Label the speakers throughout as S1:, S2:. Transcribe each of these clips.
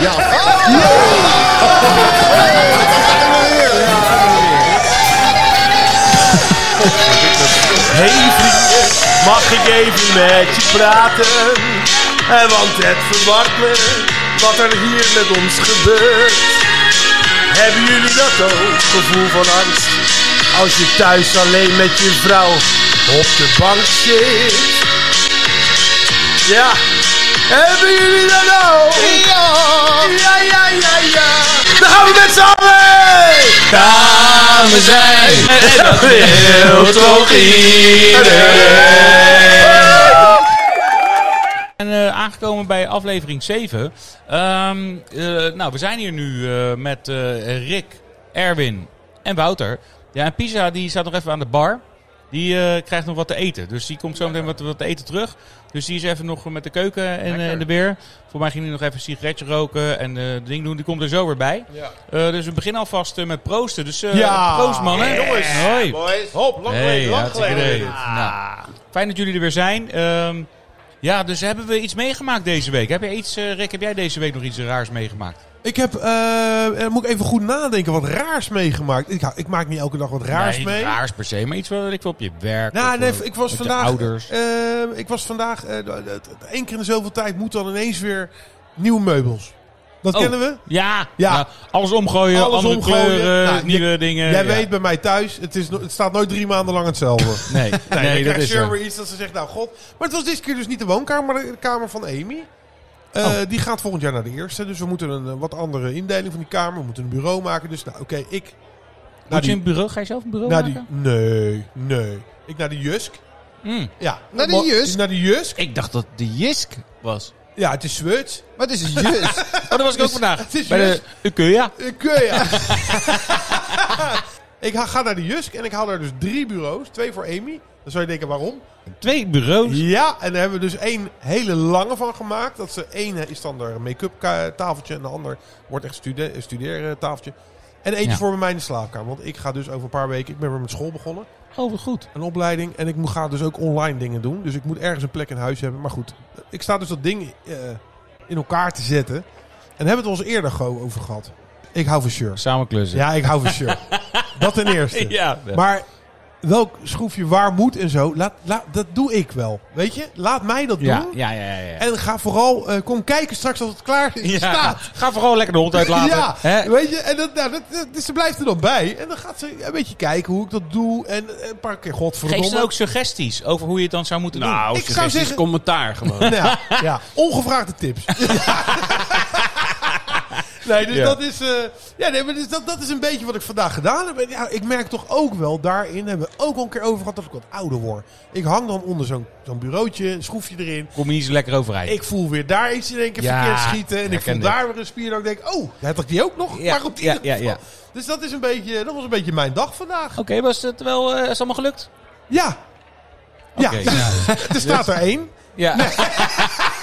S1: Ja. Oh! Nee!
S2: Hey vrienden, mag ik even met je praten? Eh, Want het verwart me wat er hier met ons gebeurt. Hebben jullie dat ook, gevoel van angst? Als je thuis alleen met je vrouw op de bank zit. Ja, hebben jullie dat ook? Ja, ja, ja, ja. Dan gaan we met z'n allen!
S3: Samen zijn. En dat wil toch
S4: En eh, aangekomen bij aflevering 7. Ehm, eh, nou, we zijn hier nu eh, met eh, Rick, Erwin en Wouter. Ja, en Pisa die staat nog even aan de bar. Die eh, krijgt nog wat te eten. Dus die komt zo meteen wat, wat te eten terug. Dus die is even nog met de keuken en eh, in de weer. Voor mij ging hij nog even een sigaretje roken en eh ding doen. Die komt er zo weer bij. Eh, dus we beginnen alvast eh, met proosten. Dus eh,
S2: Ja.
S4: proost mannen.
S2: Jongens.
S4: Hoi.
S1: Boys.
S2: Hop, lang geleden, lang
S4: hartstikke
S2: geleden. Ah.
S4: idee. Nou, fijn dat jullie er weer zijn. Ehm, ja, dus hebben we iets meegemaakt deze week? Heb je iets, eh, Rick, heb jij deze week nog iets raars meegemaakt?
S2: Ik heb, eh, eh, moet ik even goed nadenken, wat raars meegemaakt. Ik, hou- ik maak niet elke dag wat raars
S4: Nee,
S2: mee.
S4: niet Raars per se, maar iets wat ik wil op je werk.
S2: Nou,
S4: of,
S2: nee,
S4: eh,
S2: ik was
S4: met je
S2: vandaag.
S4: ouders.
S2: eh, ik was vandaag. eh, d- d- d- één keer in de zoveel tijd moet dan ineens weer nieuwe meubels. Dat
S4: Oh,
S2: kennen we.
S4: Ja,
S2: Ja.
S4: ja, alles omgooien,
S2: Alles
S4: andere
S2: omgooien.
S4: kleuren,
S2: Nou,
S4: nieuwe dingen.
S2: Jij
S4: Eh, ja.
S2: weet bij mij thuis, het, is, no- het staat nooit drie maanden lang hetzelfde. nee,
S4: Nee, nee,
S2: dan
S4: dat
S2: krijgt
S4: is
S2: Cher
S4: zo.
S2: weer iets dat ze zegt, nou god. Maar het was dit keer dus niet de woonkamer, maar de kamer van Amy. Eh,
S4: Oh.
S2: Die gaat volgend jaar naar de eerste. Dus we moeten een eh, wat andere indeling van die kamer. We moeten een bureau maken. Dus nou, oké, ik... naar
S4: Moet je
S2: die- Nou,
S4: een bureau, ga je zelf een bureau
S2: naar die,
S4: maken?
S2: nee, nee. Ik naar de Jusk.
S4: Mm.
S2: Ja.
S1: Naar de Jusk?
S2: Naar de Jusk.
S3: Ik dacht dat de Jisk was.
S2: Ja, het is Zwits.
S1: Wat is het juist?
S4: Oh, dat was ik ook vandaag.
S2: het is
S4: Bij de Ikea.
S2: Ik, eh, ja. ik ha- ga naar de Jusk en ik haal daar dus drie bureaus. Twee voor Amy. Dan zou je denken, waarom?
S4: Twee bureaus.
S2: Ja, en daar hebben we dus één hele lange van gemaakt. Dat ze één eh, is dan haar make-up ka- tafeltje en de ander wordt echt stude eh, studeertafeltje. En eentje
S4: Ja.
S2: voor bij mij in de slaapkamer. Want ik ga dus over een paar weken, ik ben weer met school begonnen.
S4: Oh, wat goed.
S2: Een opleiding. En ik moet, ga dus ook online dingen doen. Dus ik moet ergens een plek in huis hebben. Maar goed, ik sta dus dat ding eh, in elkaar te zetten. En daar hebben we het ons eerder go over gehad. Ik hou van shirts.
S4: Samen klussen.
S2: Ja, ik hou van shirt. dat ten eerste.
S4: ja.
S2: Maar welk schroefje waar moet en zo, laat, laat, dat doe ik wel. Weet je? Laat mij dat
S4: ja,
S2: doen.
S4: ja, ja, ja, ja.
S2: En ga vooral, eh, kom kijken straks als het klaar is,
S4: Ja.
S2: staat.
S4: Ga vooral lekker de hond uitlaten.
S2: Ja,
S4: Hè?
S2: weet je, en dat, nou, dat, dat- dus ze blijft er dan bij. En dan gaat ze een beetje kijken hoe ik dat doe. En eh, een paar keer, godverdomme.
S4: Geef ze ook suggesties over hoe je het dan zou moeten doen.
S3: Nou,
S2: Ik zou
S3: suggesties,
S2: zeggen-
S3: commentaar gewoon.
S2: Nou ja, ja, ongevraagde tips. nee, dus
S4: Ja.
S2: dat is. eh, ja, nee, maar dus dat, dat is een beetje wat ik vandaag gedaan heb. En ja, ik merk toch ook wel daarin. Hebben we ook al een keer over gehad dat ik wat ouder word. Ik hang dan onder zo'n zo'n bureautje, een schroefje erin.
S4: Kom je niet zo lekker overheid.
S2: Ik voel weer daar iets in één keer
S4: Ja,
S2: verkeerd schieten. En ik
S4: herken
S2: voel
S4: dit.
S2: daar weer een spier. Dat ik denk, oh, heb ik die ook nog?
S4: Ja,
S2: maar op die
S4: ja, ja, ja.
S2: Dus dat, is een beetje, dat was een beetje mijn dag vandaag.
S4: Oké, was het wel... eh, is allemaal gelukt?
S2: Ja. Ja,
S4: Oké, nou,
S2: er staat er één.
S4: ja.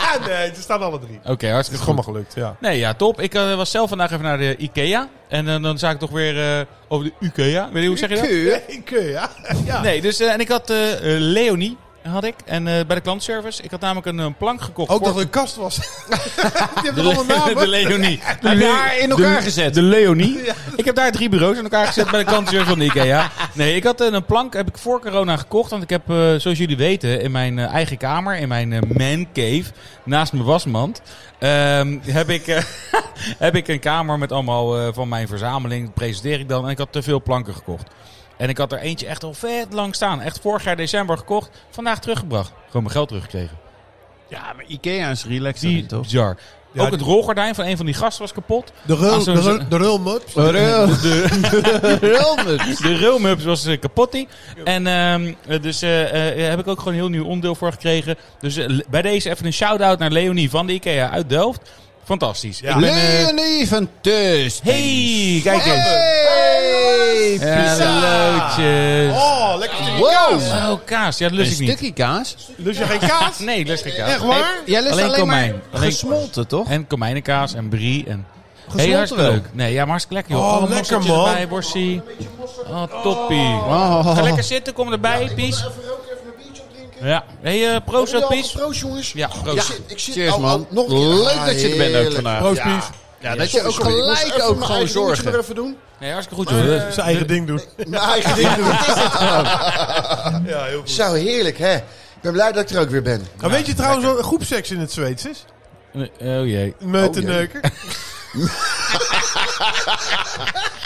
S2: Ah, nee, er staan alle drie.
S4: Oké, hartstikke
S2: Gewoon
S4: goed.
S2: maar gelukt, ja.
S4: Nee, ja, top. Ik eh, was zelf vandaag even naar de Ikea. En eh, dan zag ik toch weer eh, over de Ikea. Weet je hoe zeg je dat?
S2: Ja, ik, eh, ja. ja.
S4: Nee, dus... eh, en ik had eh, eh, Leonie, had ik. En eh, bij de klantservice. Ik had namelijk een, eh, plank gekocht.
S2: Ook
S4: voor-
S2: dat het een kast was. Die hebben
S4: de,
S2: toch allemaal
S4: Le-
S2: namen?
S4: de Leonie.
S3: Heb je haar in elkaar
S4: de,
S3: gezet?
S4: De Leonie. Ik heb daar drie bureaus in elkaar gezet bij de klantservice van de IKEA. Nee, ik had eh, een plank, heb ik voor corona gekocht. Want ik heb, eh, zoals jullie weten, in mijn eh, eigen kamer, in mijn eh, man cave, naast mijn wasmand, ehm, heb, ik, eh, heb ik een kamer met allemaal eh, van mijn verzameling. Dat presenteer ik dan. En ik had te veel planken gekocht. En ik had er eentje echt al vet lang staan. Echt vorig jaar december gekocht. Vandaag teruggebracht. Gewoon mijn geld teruggekregen.
S3: Ja, maar Ikea is relaxed
S4: Die bizar.
S2: Ja,
S4: Ook
S2: die-
S4: het rolgordijn van een van die gasten was kapot.
S2: De rul,
S4: Ah,
S2: de
S4: zo-
S2: rul, de rulmups.
S4: De railmups was eh, kapot. die. En ehm, eh, dus eh, eh, daar heb ik ook gewoon een heel nieuw onderdeel voor gekregen. Dus eh, le- bij deze even een shout-out naar Leonie van de IKEA uit Delft. Fantastisch.
S2: Ja.
S4: Ik ben, eh,
S3: Leonie van Teus.
S4: hey, kijk eens.
S3: Hey,
S4: Hallootjes.
S2: Oh, lekker stukje kaas.
S3: Wow.
S4: Oh, kaas. Ja, dat
S3: Een
S4: lust ik niet.
S3: stukje kaas.
S2: Lust je geen kaas?
S4: Nee, lust ik Dus kaas.
S2: Echt waar?
S3: Jij lust
S4: Alleen
S3: alleen,
S4: komijn.
S3: maar
S4: Alleen-
S3: gesmolten, toch?
S4: En komijnenkaas en brie en...
S3: Gesmolten
S4: hartstikke
S3: wel.
S4: leuk. Nee, ja, maar hartstikke lekker, joh.
S2: Oh,
S4: Alle
S2: lekker,
S4: mosseltjes
S2: man.
S4: erbij, borstie. Oh, toppie.
S3: Oh.
S4: Ga lekker zitten, kom erbij, Pies.
S1: Even roken, even een biertje opdrinken.
S4: Ja. Hé, eh proost,
S1: Hebben jullie al
S4: Pies.
S1: geproost, jongens.
S4: Ja, proost.
S1: Ik zit
S3: Cheers,
S1: al- al-
S3: man.
S1: nog een keer.
S3: Leuk
S1: Ah,
S3: dat je er bent ook
S1: heerlijk.
S3: vandaag.
S2: Proost,
S1: Ja.
S2: Pies.
S5: Ja, dat je ook
S1: Sorry, ik moest
S5: gelijk
S1: even
S5: ook
S1: mijn
S5: gewoon
S1: eigen dingetje
S5: zorgen.
S1: maar even doen.
S4: Nee, hartstikke goed. joh.
S2: Eh, Zijn eigen ding doen.
S1: Mijn eigen ding doen. Wat is dit allemaal?
S2: Ja, heel goed.
S1: Zo heerlijk, hè? Ik ben blij dat ik er ook weer ben.
S2: Maar weet je trouwens wat groepseks in het Zweeds is?
S4: Oh jee.
S2: Met de
S1: jee.
S2: neuker.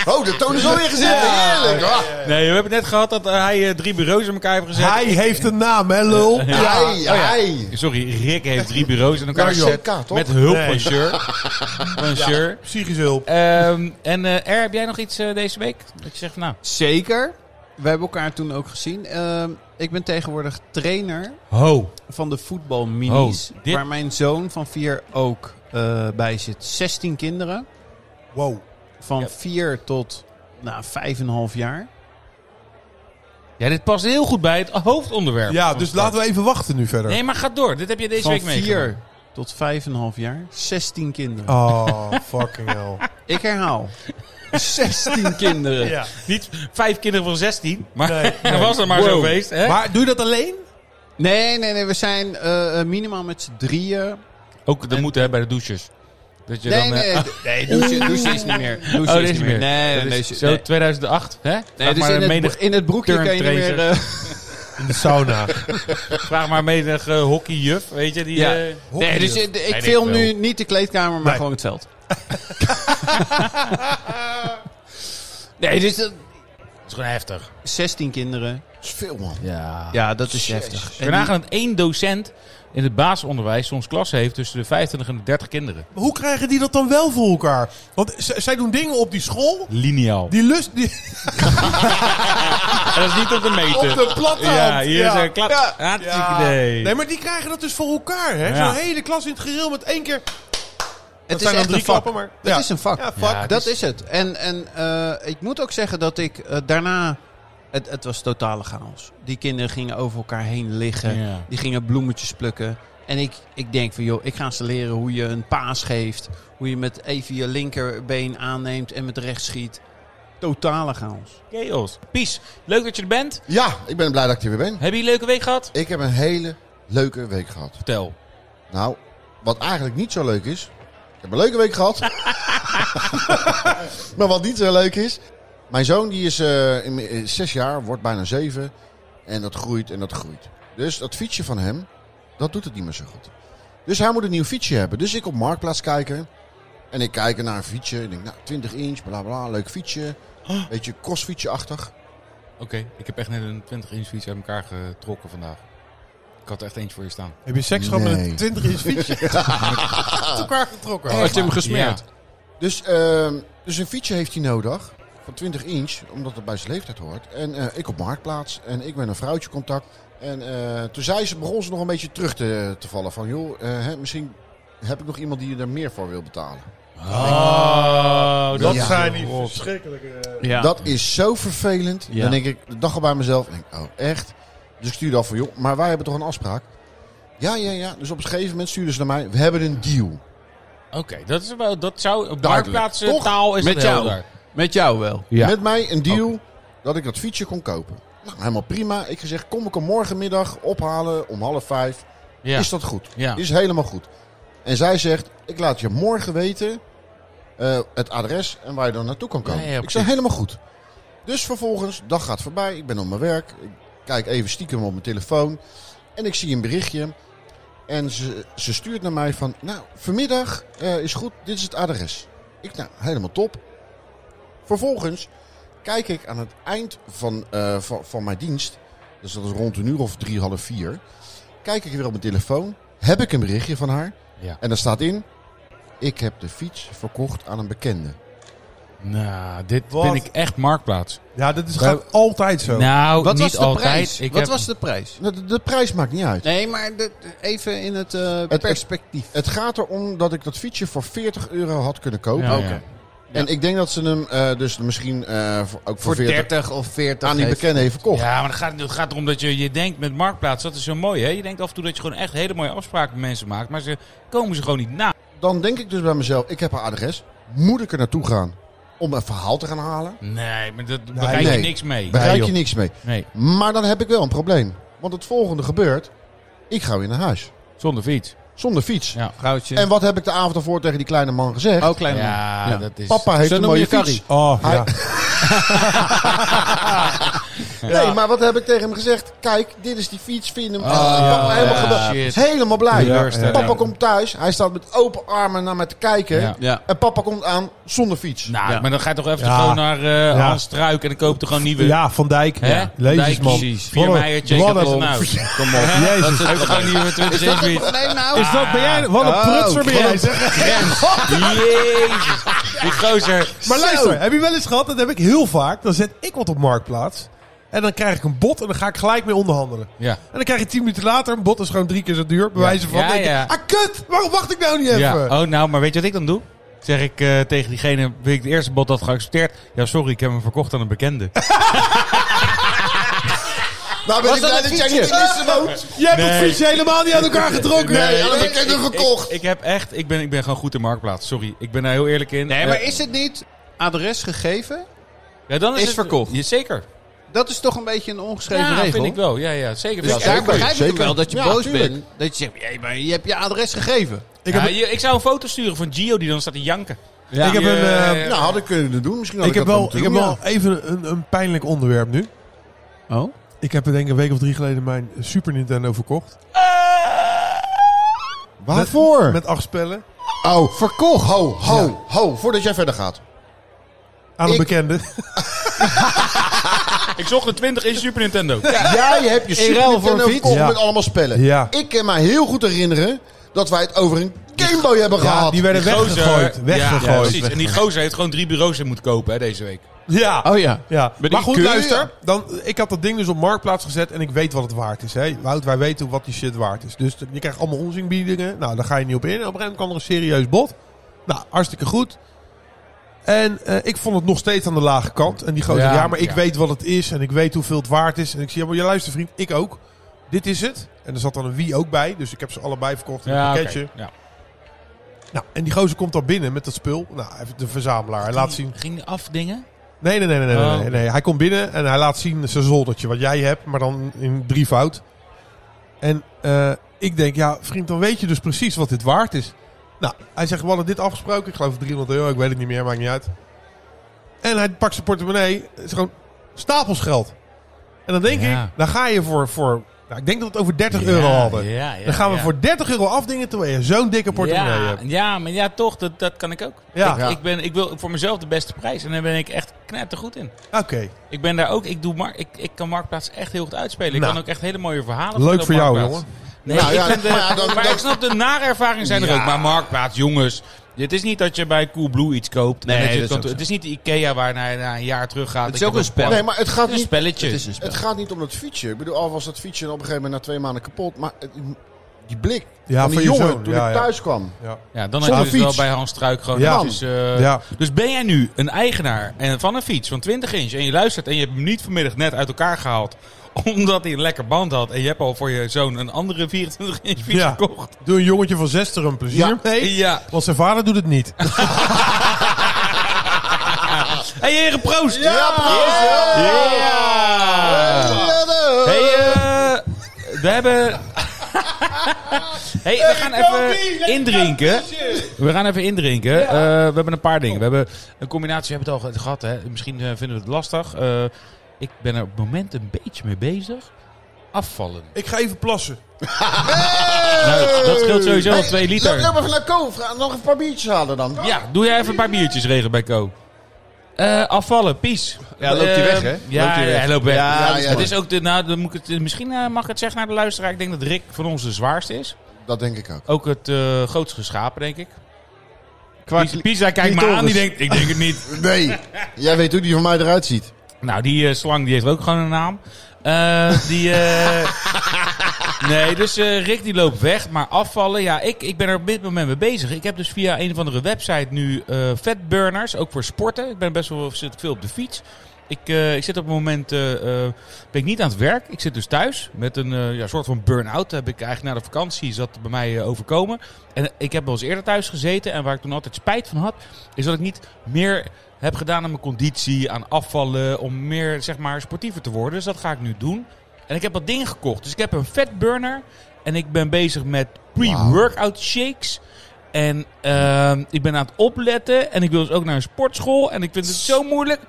S1: Oh, de toon is alweer gezet. Heerlijk. hoor.
S4: Nee, we hebben net gehad dat eh, hij eh, drie bureaus in elkaar heeft gezet.
S2: Hij heeft een naam, hè, lul?
S1: Ai,
S5: Oh
S1: ai.
S4: Sorry, Rick heeft drie bureaus in elkaar
S1: Nou,
S4: gezet.
S1: CK, toch?
S4: Met hulp van
S2: Nee.
S4: Sjur. Van Sjur.
S2: Psychische hulp.
S4: Ehm, en eh, Er, heb jij nog iets eh, deze week? Dat je zegt, van, nou,
S5: Zeker. We hebben elkaar toen ook gezien. Ehm, ik ben tegenwoordig trainer
S4: ho.
S5: van de voetbalminis.
S4: Oh, dit-
S5: Waar mijn zoon van vier ook eh, bij zit. 16 kinderen.
S2: Wow.
S5: Van
S4: Ja.
S5: 4 tot nou, 5,5 jaar.
S4: Ja, dit past heel goed bij het hoofdonderwerp.
S2: Ja, dus laten we even wachten nu verder.
S4: Nee, maar ga door. Dit heb je deze
S5: Van
S4: week meegemaakt.
S5: 4 tot 5,5 jaar. 16 kinderen.
S2: Oh, fucking hell.
S5: Ik herhaal. 16 kinderen.
S2: Ja.
S4: Niet vijf kinderen van 16. Maar
S2: Nee, nee.
S4: was er maar zo
S5: Wow.
S4: geweest. Hè?
S2: Maar doe je dat alleen?
S5: Nee, nee, nee. We zijn eh, eh, minimaal met z'n drieën.
S4: Ook dat moet hè, bij de douches. Dat je
S5: Nee,
S4: dan, eh,
S5: nee. d- Nee, douche, douche is niet meer. Douche
S4: Oh,
S5: is
S4: deze
S5: niet
S4: niet
S5: meer.
S4: meer.
S5: Nee, nee,
S4: dat
S5: nee.
S4: is
S5: nee.
S4: zo 2008, hè?
S5: Nee,
S4: Vraag
S5: dus
S4: maar
S5: in,
S4: een
S5: het,
S4: menig-
S5: broek- in het broekje kan je niet meer...
S4: turntracer.
S5: eh,
S2: In de sauna.
S4: Vraag maar een menig eh, hockeyjuf, weet je? Die,
S5: Ja.
S4: eh,
S5: nee, dus
S2: Hockeyjuf.
S5: ik, ik
S4: ik
S5: film
S4: wel.
S5: nu niet de kleedkamer, maar
S2: Nee.
S5: gewoon het veld. nee, dus dat-
S4: is gewoon heftig.
S5: 16 kinderen.
S1: Dat is veel, man.
S4: Ja.
S5: Ja, dat is heftig.
S4: We nagaan dat één docent in het basisonderwijs soms klas heeft tussen de 25 en de 30 kinderen.
S2: Hoe krijgen die dat dan wel voor elkaar? Want z- zij doen dingen op die school.
S4: Lineaal.
S2: Die lust. Die,
S4: En dat is niet op de meter.
S2: op de platte
S4: ja,
S2: hand.
S4: hier is een klap.
S2: Ja.
S4: Ah,
S2: Ja.
S4: nee.
S2: Nee, maar die krijgen dat dus voor elkaar, hè?
S4: Ja.
S2: Zo'n hele klas in het gereel met één keer. zijn
S5: Het is
S2: dan
S5: echt
S2: drie
S5: een vak.
S2: klappen, maar-
S5: Het
S2: Ja.
S5: is een vak.
S2: Ja, fuck.
S4: Ja.
S5: Dat is het. En, en eh, ik moet ook zeggen dat ik eh, daarna... Het, het was totale chaos. Die kinderen gingen over elkaar heen liggen.
S4: Ja.
S5: Die gingen bloemetjes plukken. En ik, ik denk van, joh, ik ga ze leren hoe je een paas geeft. Hoe je met even je linkerbeen aanneemt en met rechts schiet. Totale chaos.
S4: Chaos. Pies, leuk dat je er bent.
S1: Ja, ik ben blij dat ik er weer ben.
S4: Hebben jullie een leuke week gehad?
S1: Ik heb een hele leuke week gehad.
S4: Vertel.
S1: Nou, wat eigenlijk niet zo leuk is. Ik heb een leuke week gehad. maar wat niet zo leuk is. Mijn zoon die is eh, in, in zes jaar, wordt bijna zeven. En dat groeit en dat groeit. Dus dat fietsje van hem, dat doet het niet meer zo goed. Dus hij moet een nieuw fietsje hebben. Dus ik op Marktplaats kijken. En ik kijk naar een fietsje. En ik denk, nou, 20 inch, bla bla, leuk fietsje. Beetje crossfietsje-achtig.
S4: Oké, ik heb echt net een 20 inch fiets uit elkaar getrokken vandaag. Ik had er echt eentje voor je staan.
S2: Heb je seks gehad met
S1: Nee.
S2: een 20 inch fietsje? Uit elkaar getrokken.
S5: Had je hem
S4: gesmeerd?
S1: Dus, ehm, dus een fietsje heeft hij nodig. Van 20 inch, omdat het bij zijn leeftijd hoort. En eh, ik op marktplaats. En ik ben een vrouwtje contact. En eh, toen zei ze, begon ze nog een beetje terug te, te vallen. Van joh, eh, hè, misschien heb ik nog iemand die er meer voor wil betalen.
S4: Oh, dat
S1: Ja.
S2: zijn die verschrikkelijke.
S5: Ja.
S1: Dat is zo vervelend.
S5: Ja.
S1: Dan denk ik, de dag al bij mezelf. Denk, ik, oh, echt? Dus ik stuurde af van, joh, maar wij hebben toch een afspraak? Ja, ja, ja. Dus op een gegeven moment stuurden ze naar mij. We hebben een deal.
S4: Oké, dat is wel, dat zou, op
S1: Duidelijk.
S4: marktplaats eh,
S1: Toch?
S4: taal is
S5: Met
S4: het
S5: jou.
S4: helder.
S5: Met jou wel.
S4: Ja.
S1: Met mij een deal dat ik dat fietsje kon kopen. Nou, helemaal prima. Ik gezegd, kom ik hem morgenmiddag ophalen om half vijf.
S4: Ja.
S1: Is dat goed?
S4: Ja.
S1: Is helemaal goed. En zij zegt, ik laat je morgen weten eh, het adres en waar je dan naartoe kan komen.
S4: Ja, ja,
S1: ik zeg, helemaal goed. Dus vervolgens, dag gaat voorbij. Ik ben op mijn werk. Ik kijk even stiekem op mijn telefoon. En ik zie een berichtje. En ze, ze stuurt naar mij van, nou, vanmiddag eh, is goed. Dit is het adres. Ik, nou, helemaal top. Vervolgens kijk ik aan het eind van, eh, van, van mijn dienst. Dus dat is rond een uur of drie, half vier. Kijk ik weer op mijn telefoon. Heb ik een berichtje van haar.
S4: Ja.
S1: En daar staat in... Ik heb de fiets verkocht aan een bekende.
S4: Nou, dit
S2: Wat?
S4: vind ik echt marktplaats.
S2: Ja, dat is, gaat altijd zo.
S4: Nou,
S5: Wat
S4: niet
S5: was de
S4: altijd.
S5: prijs?
S4: Ik
S5: Wat
S4: heb-
S5: was de prijs?
S1: Nou, De, de prijs maakt niet uit.
S5: Nee, maar de- even in het, eh,
S1: het-
S5: perspectief.
S1: Het gaat erom dat ik dat fietsje voor 40 euro had kunnen kopen.
S4: Ja,
S5: Oké.
S1: En ik denk dat ze hem eh, dus misschien eh, voor- ook voor,
S5: Voor
S1: 40
S5: 30 of 40.
S1: aan die
S5: heeft-
S1: bekende heeft verkocht.
S4: Ja, maar het gaat, het gaat erom dat je, je denkt met marktplaats, dat is zo mooi hè. Je denkt af en toe dat je gewoon echt hele mooie afspraken met mensen maakt, maar ze komen ze gewoon niet na.
S1: Dan denk ik dus bij mezelf, ik heb haar adres. Moet ik er naartoe gaan om een verhaal te gaan halen?
S4: Nee, maar dat bereik je
S1: nee.
S4: niks mee.
S1: Bereik
S4: Nee,
S1: je
S4: joh.
S1: niks mee.
S4: Nee,
S1: Maar dan heb ik wel een probleem. Want het volgende gebeurt. Ik ga weer naar huis.
S4: zonder fiets.
S1: Zonder fiets.
S4: Ja.
S5: Goudje.
S1: En wat heb ik de avond ervoor tegen die kleine man gezegd?
S5: oh, klein man.
S4: Ja,
S5: Ja.
S4: dat is...
S1: Papa heeft
S4: Zo
S1: een
S4: noem
S1: mooie
S4: je Carrie.
S1: fiets.
S2: Oh,
S1: Hij-
S2: ja.
S1: Nee, maar wat heb ik tegen hem gezegd? Kijk, dit is die fiets, vind hem. Ah, papa
S4: ja,
S1: helemaal, geweldig.
S5: shit.
S1: helemaal blij.
S2: Teleurstelling.
S1: Papa komt thuis, hij staat met open armen naar mij te kijken.
S4: Ja.
S5: Ja.
S1: En papa komt aan zonder fiets.
S4: Nou,
S5: Ja.
S4: maar dan ga je toch even
S2: Ja.
S4: gewoon naar eh
S2: Ja.
S4: Hans Struik en dan koop je toch gewoon nieuwe...
S2: ja, Van Dijk.
S4: Hè?
S2: Ja. Lezers,
S4: Dijk,
S2: man.
S4: precies. Vier
S2: Wat een-
S4: Meijer, Jacob
S2: wat een-
S4: Leonard.
S2: Kom op. Jezus.
S4: Koop je gewoon nieuwe 20 inch fiets.
S5: nou,
S2: Is dat, ben jij, wat een
S4: Oh,
S2: prutser ben jij. zeg.
S4: Jezus. Die gozer.
S2: Maar luister, heb je wel eens gehad, dat heb ik heel vaak, dan zet ik wat op Marktplaats. En dan krijg ik een bot en dan ga ik gelijk mee onderhandelen.
S4: Ja.
S2: En dan krijg je tien minuten later, een bot is gewoon drie keer zo duur, bij
S4: Ja.
S2: wijze van.
S4: Ja,
S2: denk je,
S4: ja.
S2: Ah, kut! Waarom wacht ik nou niet even?
S4: ja. Oh, nou, maar weet je wat ik dan doe? Zeg ik eh, tegen diegene wie ik de eerste bot had geaccepteerd. Ja, sorry, ik heb hem verkocht aan een bekende.
S1: Nou ben ik blij dat jij niet in Lissabon...
S2: Nou, Jij hebt
S4: Nee.
S2: het fietsje helemaal niet uit elkaar getrokken.
S1: Nee, dat heb ik nog gekocht.
S4: Ik, ik heb echt, ik ben, ik ben gewoon goed in marktplaats. Sorry, ik ben daar heel eerlijk in.
S5: Nee,
S4: Eh,
S5: maar is het niet adres gegeven?
S4: ja, dan is,
S5: is
S4: het,
S5: verkocht.
S4: Ja, zeker.
S5: Dat is toch een beetje een ongeschreven
S4: Ja,
S5: regel?
S4: vind ik wel. Ja, ja, zeker.
S5: Dus
S4: wel.
S5: daar
S1: zeker,
S5: begrijp ik
S1: zeker.
S5: hem wel dat je
S1: Ja,
S5: boos
S1: tuurlijk.
S5: bent. Dat je zegt, hey, maar je hebt je adres gegeven.
S2: Ik
S4: Ja,
S2: heb,
S4: je- ik zou een foto sturen van Gio die dan staat te janken.
S2: ik heb een, eh,
S4: Ja.
S1: Nou, had ik kunnen doen. Misschien had
S2: ik
S1: ik,
S2: heb
S1: dat
S2: wel,
S1: moeten
S2: ik heb
S1: doen,
S2: wel
S1: ja.
S2: even een, een pijnlijk onderwerp nu.
S5: Oh?
S2: Ik heb denk ik een week of drie geleden mijn Super Nintendo verkocht.
S1: Waarvoor?
S2: Met acht spellen.
S1: Oh, verkocht. Ho, ho, ho. Voordat jij verder gaat.
S2: Aan een
S1: Ik-
S2: bekende.
S4: Ik zocht een 20 in Super Nintendo.
S1: Jij hebt je Super
S5: ruil voor
S1: Nintendo
S5: een fiets?
S1: verkocht
S2: Ja.
S1: met allemaal spellen.
S2: Ja.
S1: Ik kan mij heel goed herinneren dat wij het over een Game Boy hebben
S2: Ja,
S1: gehad.
S2: die werden
S4: Die gozer-
S2: weggegooid.
S4: Ja, ja,
S2: Weggegooid.
S4: precies. En die gozer heeft gewoon drie bureaus in moeten kopen hè, deze week.
S2: Ja.
S5: Oh ja.
S2: Ja,
S5: die
S2: maar goed,
S5: keur,
S2: luister. Dan, ik had dat ding dus op marktplaats gezet en ik weet wat het waard is. Hè. Wout, wij weten wat die shit waard is. Dus je krijgt allemaal onzinbiedingen. Nou, daar ga je niet op in. En op een gegeven moment kwam er een serieus bod. Nou, hartstikke goed. En eh, ik vond het nog steeds aan de lage kant. En die gozer, ja,
S4: Ja,
S2: maar ik
S4: ja.
S2: weet wat het is en ik weet hoeveel het waard is. En ik zie, ja, maar je luister vriend, ik ook. Dit is het. En er zat dan een wie ook bij. Dus ik heb ze allebei verkocht in een
S4: oké.
S2: pakketje.
S4: Ja.
S2: Nou, en die gozer komt dan binnen met dat spul. Nou, even de verzamelaar. Hij laat zien.
S4: Ging hij afdingen?
S2: Nee, nee, nee, nee, nee,
S4: Oh.
S2: nee, nee. Hij komt binnen en hij laat zien zijn zoldertje wat jij hebt, maar dan in drievoud. En eh, ik denk, ja, vriend, dan weet je dus precies wat dit waard is. Nou, hij zegt, we hadden dit afgesproken. Ik geloof 300 euro, ik weet het niet meer, maakt niet uit. En hij pakt zijn portemonnee. Het is gewoon stapels geld. En dan denk
S4: Ja.
S2: ik, dan ga je voor, voor nou, ik denk dat we het over 30 euro hadden.
S4: Ja, ja,
S2: dan gaan we
S4: ja.
S2: voor 30 euro afdingen terwijl je zo'n dikke portemonnee
S4: ja,
S2: hebt.
S4: ja, maar ja, toch, dat, dat kan ik ook.
S2: Ja.
S4: Ik,
S2: Ja.
S4: Ik, ben, ik wil voor mezelf de beste prijs en daar ben ik echt knettergoed in.
S2: Oké,
S4: Ik ben daar ook, ik, doe mark, ik, ik kan Marktplaats echt heel goed uitspelen. Ik
S2: Nou.
S4: kan ook echt hele mooie verhalen
S2: leuk
S4: vertellen
S2: voor
S4: op
S2: jou,
S4: Marktplaats.
S2: jongen.
S4: Nee,
S1: Nou
S4: ik
S1: ja,
S4: vind, eh,
S1: maar dan-
S4: maar
S1: dan-
S4: ik snap de nadervaringen zijn er ook. Maar Marktplaats, jongens. Het is niet dat je bij Coolblue iets koopt.
S5: Nee,
S4: en dat je
S5: dat
S4: het, kan
S5: is ook
S4: doen.
S5: zo.
S4: het is niet de Ikea waar na, na een jaar terug gaat.
S5: Het is
S4: Ik
S5: ook
S4: heb
S5: een spel.
S4: plan.
S1: Nee, maar het gaat
S4: Het is
S1: niet...
S4: een spelletje.
S5: Het is een spel.
S1: Het gaat niet om dat fietsen. Ik bedoel, al was dat fietsen op een gegeven moment na twee maanden kapot. Maar het- die blik
S2: Ja,
S1: van die
S2: van je
S1: jongen
S2: zoon,
S1: toen
S2: ja,
S1: ik
S2: ja.
S1: thuis kwam.
S2: Ja.
S4: Ja, dan
S1: Zonder
S4: heb je dus wel
S1: fiets.
S4: bij Hans Struik gewoon
S2: Ja.
S4: netjes, eh,
S2: Ja.
S4: Dus ben jij nu een eigenaar en van een fiets van 20 inch en je luistert en je hebt hem niet vanmiddag net uit elkaar gehaald omdat hij een lekker band had en je hebt al voor je zoon een andere 24 inch fiets
S2: Ja.
S4: gekocht.
S2: Doe een jongetje van 60 een plezier
S1: Ja.
S2: mee.
S4: Ja.
S2: Want zijn vader doet het niet.
S4: Hey heren, proost!
S1: Ja, proost!
S4: Ja! Hey, eh, we hebben... hey, we gaan even indrinken. We gaan even indrinken. Eh, we hebben een paar dingen. We hebben een combinatie, we hebben het al ge- gehad. Hè. Misschien eh, vinden we het lastig. Eh, ik ben er op het moment een beetje mee bezig. Afvallen.
S2: Ik ga even plassen.
S4: Nou, dat scheelt sowieso al
S1: Hey,
S4: twee liter.
S1: Loop loop even naar Ko. vraag- Nog een paar biertjes halen dan.
S4: Ja, doe jij even een paar biertjes regelen bij Co. Eh, afvallen, pies.
S5: Ja, loopt hij
S4: Eh,
S5: weg, hè?
S4: Ja,
S5: Loopt hij
S4: ja,
S5: weg.
S4: hij loopt weg.
S1: Ja,
S4: Ja,
S1: ja,
S4: het
S1: ja.
S4: is ook de, nou, dan moet ik het, misschien eh, mag ik het zeggen naar de luisteraar. Ik denk dat Rick van ons de zwaarste is.
S1: Dat denk ik ook.
S4: Ook het eh grootste geschapen, denk ik.
S5: Qua-
S4: Pies, Pies, hij kijkt me aan, die denkt, ik denk het niet.
S1: Nee, jij weet hoe die van mij eruit ziet.
S4: nou, die eh, slang die heeft ook gewoon een naam. Eh, die, eh, nee, dus eh, Rick die loopt weg, maar afvallen. Ja, ik, ik ben er op dit moment mee bezig. Ik heb dus via een of andere website nu eh fatburners, ook voor sporten. Ik ben best wel zit veel op de fiets. Ik, eh, ik zit op het moment, eh, eh, ben ik niet aan het werk. Ik zit dus thuis met een eh, ja, soort van burn-out. Heb ik eigenlijk na de vakantie zat bij mij eh, overkomen. En ik heb wel eens eerder thuis gezeten. En waar ik toen altijd spijt van had, is dat ik niet meer heb gedaan aan mijn conditie, aan afvallen. Om meer, zeg maar, sportiever te worden. Dus dat ga ik nu doen. En ik heb wat dingen gekocht. Dus ik heb een fatburner. En ik ben bezig met pre-workout shakes. En ehm, ik ben aan het opletten. En ik wil dus ook naar een sportschool. En ik vind het zo moeilijk.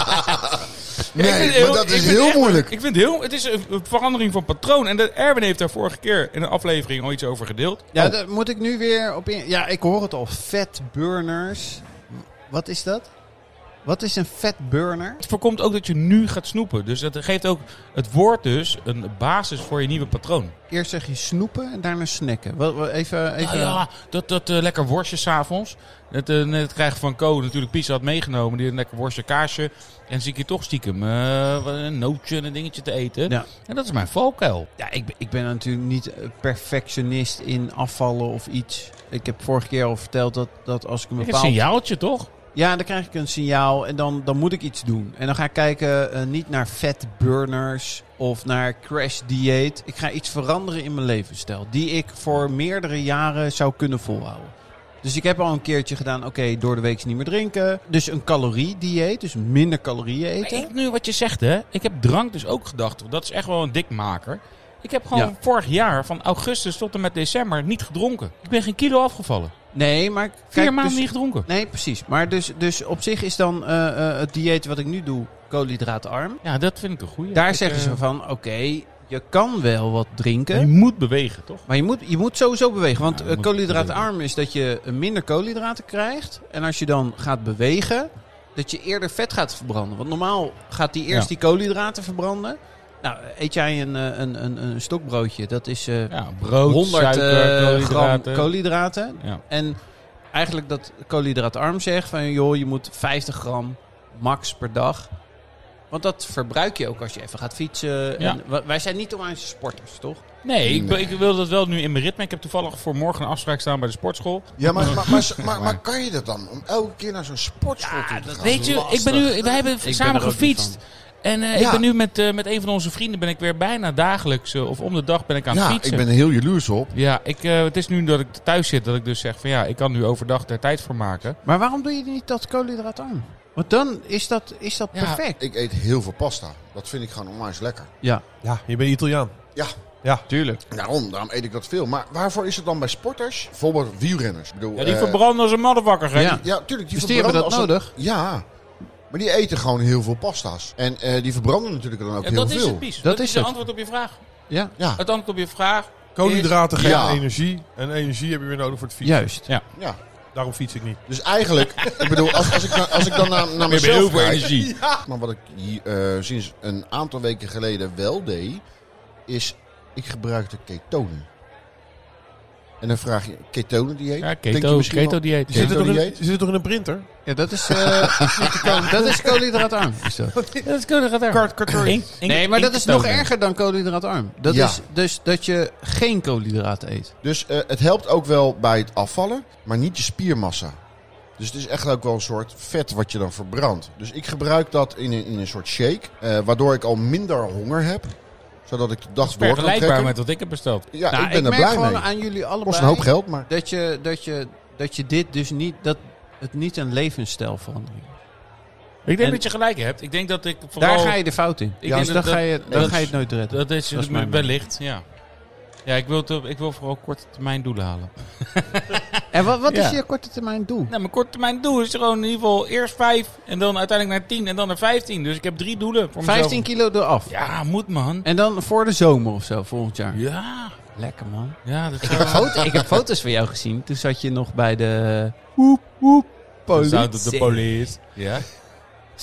S4: Ik vind
S1: Nee,
S4: het heel-
S1: maar dat
S4: ik
S1: is
S4: vind het
S1: heel
S4: echt-
S1: moeilijk.
S4: Ik vind het heel... Het is een een verandering van patroon. En de, Erwin heeft daar vorige keer in een aflevering al iets over gedeeld.
S5: Ja, daar moet ik nu weer op in. Ja, ik hoor het al. Fat burners. Wat is dat? Wat is een fat burner?
S4: Het voorkomt ook dat je nu gaat snoepen. Dus dat geeft ook het woord dus een basis voor je nieuwe patroon.
S5: Eerst zeg je snoepen en daarna snacken. Wat, wat- even, even.
S4: Nou ja, dat, dat eh, lekker worstje s'avonds. Net, eh, net krijgen van Co natuurlijk pizza had meegenomen. Die had een lekker worstje kaasje. En dan zie ik je toch stiekem eh, wat- een nootje en een dingetje te eten.
S5: Ja.
S4: En dat is mijn valkuil.
S5: Ja, ik, ben- ik ben natuurlijk niet eh, perfectionist in afvallen of iets. Ik heb vorige keer al verteld dat, dat als ik een
S4: Een
S5: bepaald...
S4: signaaltje toch?
S5: Ja, dan krijg ik een signaal en dan, dan moet ik iets doen. En dan ga ik kijken eh, niet naar fat burners of naar crash dieet. Ik ga iets veranderen in mijn levensstijl die ik voor meerdere jaren zou kunnen volhouden. Dus ik heb al een keertje gedaan, oké, door de week niet meer drinken. Dus een calorie-dieet, dus minder calorieën
S4: Maar
S5: eten.
S4: ik, nu wat je zegt hè. Ik heb drank dus ook gedacht. Dat is echt wel een dikmaker. Ik heb gewoon
S5: Ja.
S4: vorig jaar van augustus tot en met december niet gedronken. Ik ben geen kilo afgevallen.
S5: Nee, maar
S4: Vier
S5: kijk,
S4: maanden
S5: dus-
S4: niet gedronken.
S5: Nee, precies. Maar dus, dus op zich is dan eh, eh, het dieet wat ik nu doe koolhydraatarm.
S4: Ja, dat vind ik een goeie.
S5: Daar
S4: Ik,
S5: zeggen
S4: eh,
S5: ze van, oké, je kan wel wat drinken.
S4: Je moet bewegen toch?
S5: Maar je moet, je moet sowieso bewegen. Want
S4: Ja,
S5: eh,
S4: je moet
S5: koolhydraatarm is dat je eh, minder koolhydraten krijgt. En als je dan gaat bewegen, dat je eerder vet gaat verbranden. Want normaal gaat die
S4: Ja.
S5: eerst die koolhydraten verbranden. Nou, eet jij een, eh, een, een, een stokbroodje, dat is eh,
S4: Ja, brood,
S5: 100
S4: suiker,
S5: eh, gram
S4: koolhydraten.
S5: koolhydraten.
S4: Ja.
S5: En eigenlijk dat koolhydraatarm zegt van joh, je moet 50 gram max per dag. Want dat verbruik je ook als je even gaat fietsen. En
S4: Ja.
S5: wa- wij zijn niet onwijs sporters, toch?
S4: Nee, ik, ik wil dat wel nu in mijn ritme. Ik heb toevallig voor morgen een afspraak staan bij de sportschool.
S1: Ja, maar, maar, maar, maar, maar kan je dat dan? Om elke keer naar zo'n sportschool toe te gaan?
S4: Weet je, ik ben nu, wij hebben
S5: ben
S4: samen
S5: er ook
S4: gefietst.
S5: niet
S4: En eh, ik
S1: Ja.
S4: ben nu met, eh, met een van onze vrienden ben ik weer bijna dagelijks eh, of om de dag ben ik aan het
S1: Ja,
S4: fietsen.
S1: ik ben er heel jaloers op.
S4: Ja, ik, eh, het is nu dat ik thuis zit dat ik dus zeg van ja, ik kan nu overdag daar tijd voor maken.
S5: Maar waarom doe je niet dat koolhydraatarm? Want dan is dat, is dat
S4: Ja.
S5: perfect.
S1: Ik eet heel veel pasta. Dat vind ik gewoon onwijs lekker.
S5: Ja,
S2: Ja, je bent Italiaan.
S1: Ja,
S5: tuurlijk.
S1: daarom, daarom eet ik dat veel. Maar waarvoor is het dan bij sporters? Bijvoorbeeld wielrenners. Ik bedoel,
S4: Ja, die
S1: eh,
S4: verbranden als een motherfucker. hè?
S5: Ja.
S1: Ja, tuurlijk. Die
S5: Dus die hebben
S1: verbranden
S5: dat
S1: als een- Ja, maar die eten gewoon heel veel pasta's. En eh, die verbranden natuurlijk dan ook
S4: Ja,
S1: heel
S4: dat
S1: veel.
S4: is het, Pies. Dat,
S5: Dat
S4: is
S5: is
S4: het
S5: het.
S4: antwoord op je vraag.
S5: Ja,
S1: Ja,
S4: Het antwoord op je vraag
S2: Koolhydraten geven
S1: Ja.
S2: energie. En energie heb je weer nodig voor het fietsen.
S5: juist.
S1: ja.
S2: Daarom fiets ik niet.
S1: Dus eigenlijk, ik bedoel, als, als, ik, na- als ik dan naar, naar
S4: is
S1: mezelf
S4: heel veel
S1: kijk-
S4: energie.
S1: Maar wat ik hier, eh, sinds een aantal weken geleden wel deed, is ik gebruikte ketonen. En dan vraag je, ketonen dieet?
S4: Ja,
S1: Denk je
S4: keto,
S1: misschien wel-
S4: keto dieet.
S2: Je zit, er toch in,
S1: dieet?
S2: je zit toch in een printer?
S5: Ja, dat is, eh dat is koolhydraatarm. is dat.
S4: Dat is koolhydraatarm.
S5: Nee, maar dat is nog erger dan koolhydraatarm. Dat
S1: Ja.
S5: is dus dat je geen koolhydraten eet.
S1: Dus eh, het helpt ook wel bij het afvallen, maar niet je spiermassa. Dus het is echt ook wel een soort vet wat je dan verbrandt. Dus ik gebruik dat in een, in een soort shake, eh, waardoor ik al minder honger heb. Zodat ik de dag door kan
S4: Vergelijkbaar
S1: trekken.
S4: met wat ik heb besteld.
S1: Ja,
S5: Nou,
S1: ik ben er
S5: merk
S1: blij
S5: gewoon
S1: mee.
S5: aan jullie allebei.
S1: Kost een hoop geld, maar...
S5: Dat je, dat je, dat je dit dus niet, dat het niet een levensstijlverandering is.
S4: Ik denk
S5: En-
S4: dat je gelijk hebt. Ik denk dat ik vooral...
S5: Daar ga je de fout in.
S4: denk dat
S5: dus dan,
S4: dat-
S5: ga je, dan
S4: dat
S5: ga je
S4: is-
S5: het nooit redden.
S4: Dat is,
S5: Dat is mijn
S4: wellicht, ja. Ja, ik wil, te- ik wil vooral korte termijn doelen halen.
S5: En wat, wat
S4: Ja.
S5: is je korte termijn doel?
S4: Nou, mijn korte termijn doel is gewoon in ieder geval eerst vijf en dan uiteindelijk naar tien en dan naar vijftien. Dus ik heb drie doelen voor mezelf.
S5: 15 kilo eraf.
S4: Ja, moet man.
S5: En dan voor de zomer of zo, volgend jaar.
S4: Ja.
S5: Lekker man.
S4: Ja, dat
S5: Ik heb,
S4: zou...
S5: foto- ik heb foto's van jou gezien. Toen zat je nog bij de. Hoep, hoep. Politie.
S4: police. Ja.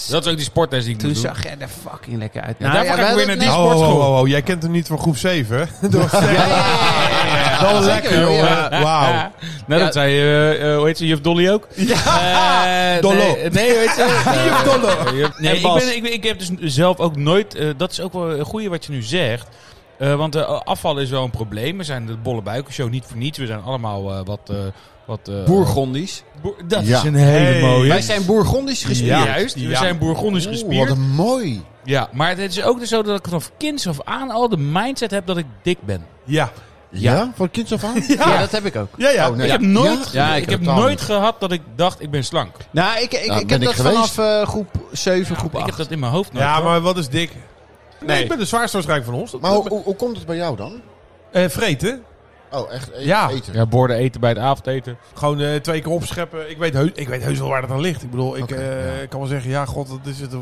S4: Dat is ook die sportles die ik
S5: Toen
S4: moet doen.
S5: zag jij er fucking lekker uit.
S4: daarvoor ga ik
S5: wij
S4: weer
S5: hadden
S4: naar
S5: het
S4: die
S2: Oh,
S4: sportschool.
S2: oh, oh, jij kent hem niet van groep 7, hè? Dat was
S5: net-
S2: wel
S5: Zeker
S2: lekker,
S5: wel,
S2: jongen.
S5: ja.
S2: Wauw.
S4: Nou, dat zei, eh, eh, hoe heet ze, juf Dolly ook? Ja,
S2: Dollo.
S4: Nee, eh, nee, hoe heet ze? juf Dollo. Nee,
S5: En
S4: ik,
S5: Bas.
S4: ben, ik, ben- ik heb dus zelf ook nooit, eh, dat is ook wel een goeie wat je nu zegt. Eh, want eh, afval is wel een probleem. We zijn de bolle buikenshow niet voor niets. We zijn allemaal eh, wat... eh, wat eh,
S5: Bourgondisch.
S4: boer- dat
S1: Ja.
S4: is een hele
S2: Hey.
S4: mooie.
S5: Wij zijn Bourgondisch gespierd.
S4: Ja,
S5: Ja.
S4: juist. We
S2: Ja.
S4: zijn bourgondisch
S1: Oeh,
S4: gespierd.
S1: wat een mooi.
S4: Ja, maar het is ook dus zo dat ik vanaf kinds af aan al de mindset heb dat ik dik ben.
S2: Ja.
S1: Ja,
S4: Ja.
S1: van kinds af aan?
S5: dat heb ik ook.
S2: Ja, ja.
S1: Oh, nee.
S4: Ik heb nooit,
S5: Ja,
S4: ik
S5: ik
S4: heb
S5: ook al.
S4: nooit gehad dat ik dacht ik ben slank.
S5: Nou, ik, ik,
S1: Nou,
S5: ik
S1: ben
S5: heb
S1: ik
S5: dat
S1: geweest.
S5: vanaf eh, groep 7, groep
S4: Ik heb
S5: 8.
S4: dat in mijn hoofd nooit.
S2: Ja,
S4: gehad.
S2: maar wat is dik? Nee, ik ben de zwaarste waarschijnlijk van ons. Dat-
S1: Maar hoe, hoe, hoe komt het bij jou dan?
S2: Eh, vreten.
S1: Oh, echt e-
S2: Ja.
S1: eten?
S4: Ja, borden eten bij het avondeten.
S2: Gewoon eh, twee keer opscheppen. Ik weet, heus, ik weet heus wel waar dat aan ligt. Ik bedoel, ik
S1: Oké,
S2: eh, kan wel zeggen, ja, god, dat is het. eh,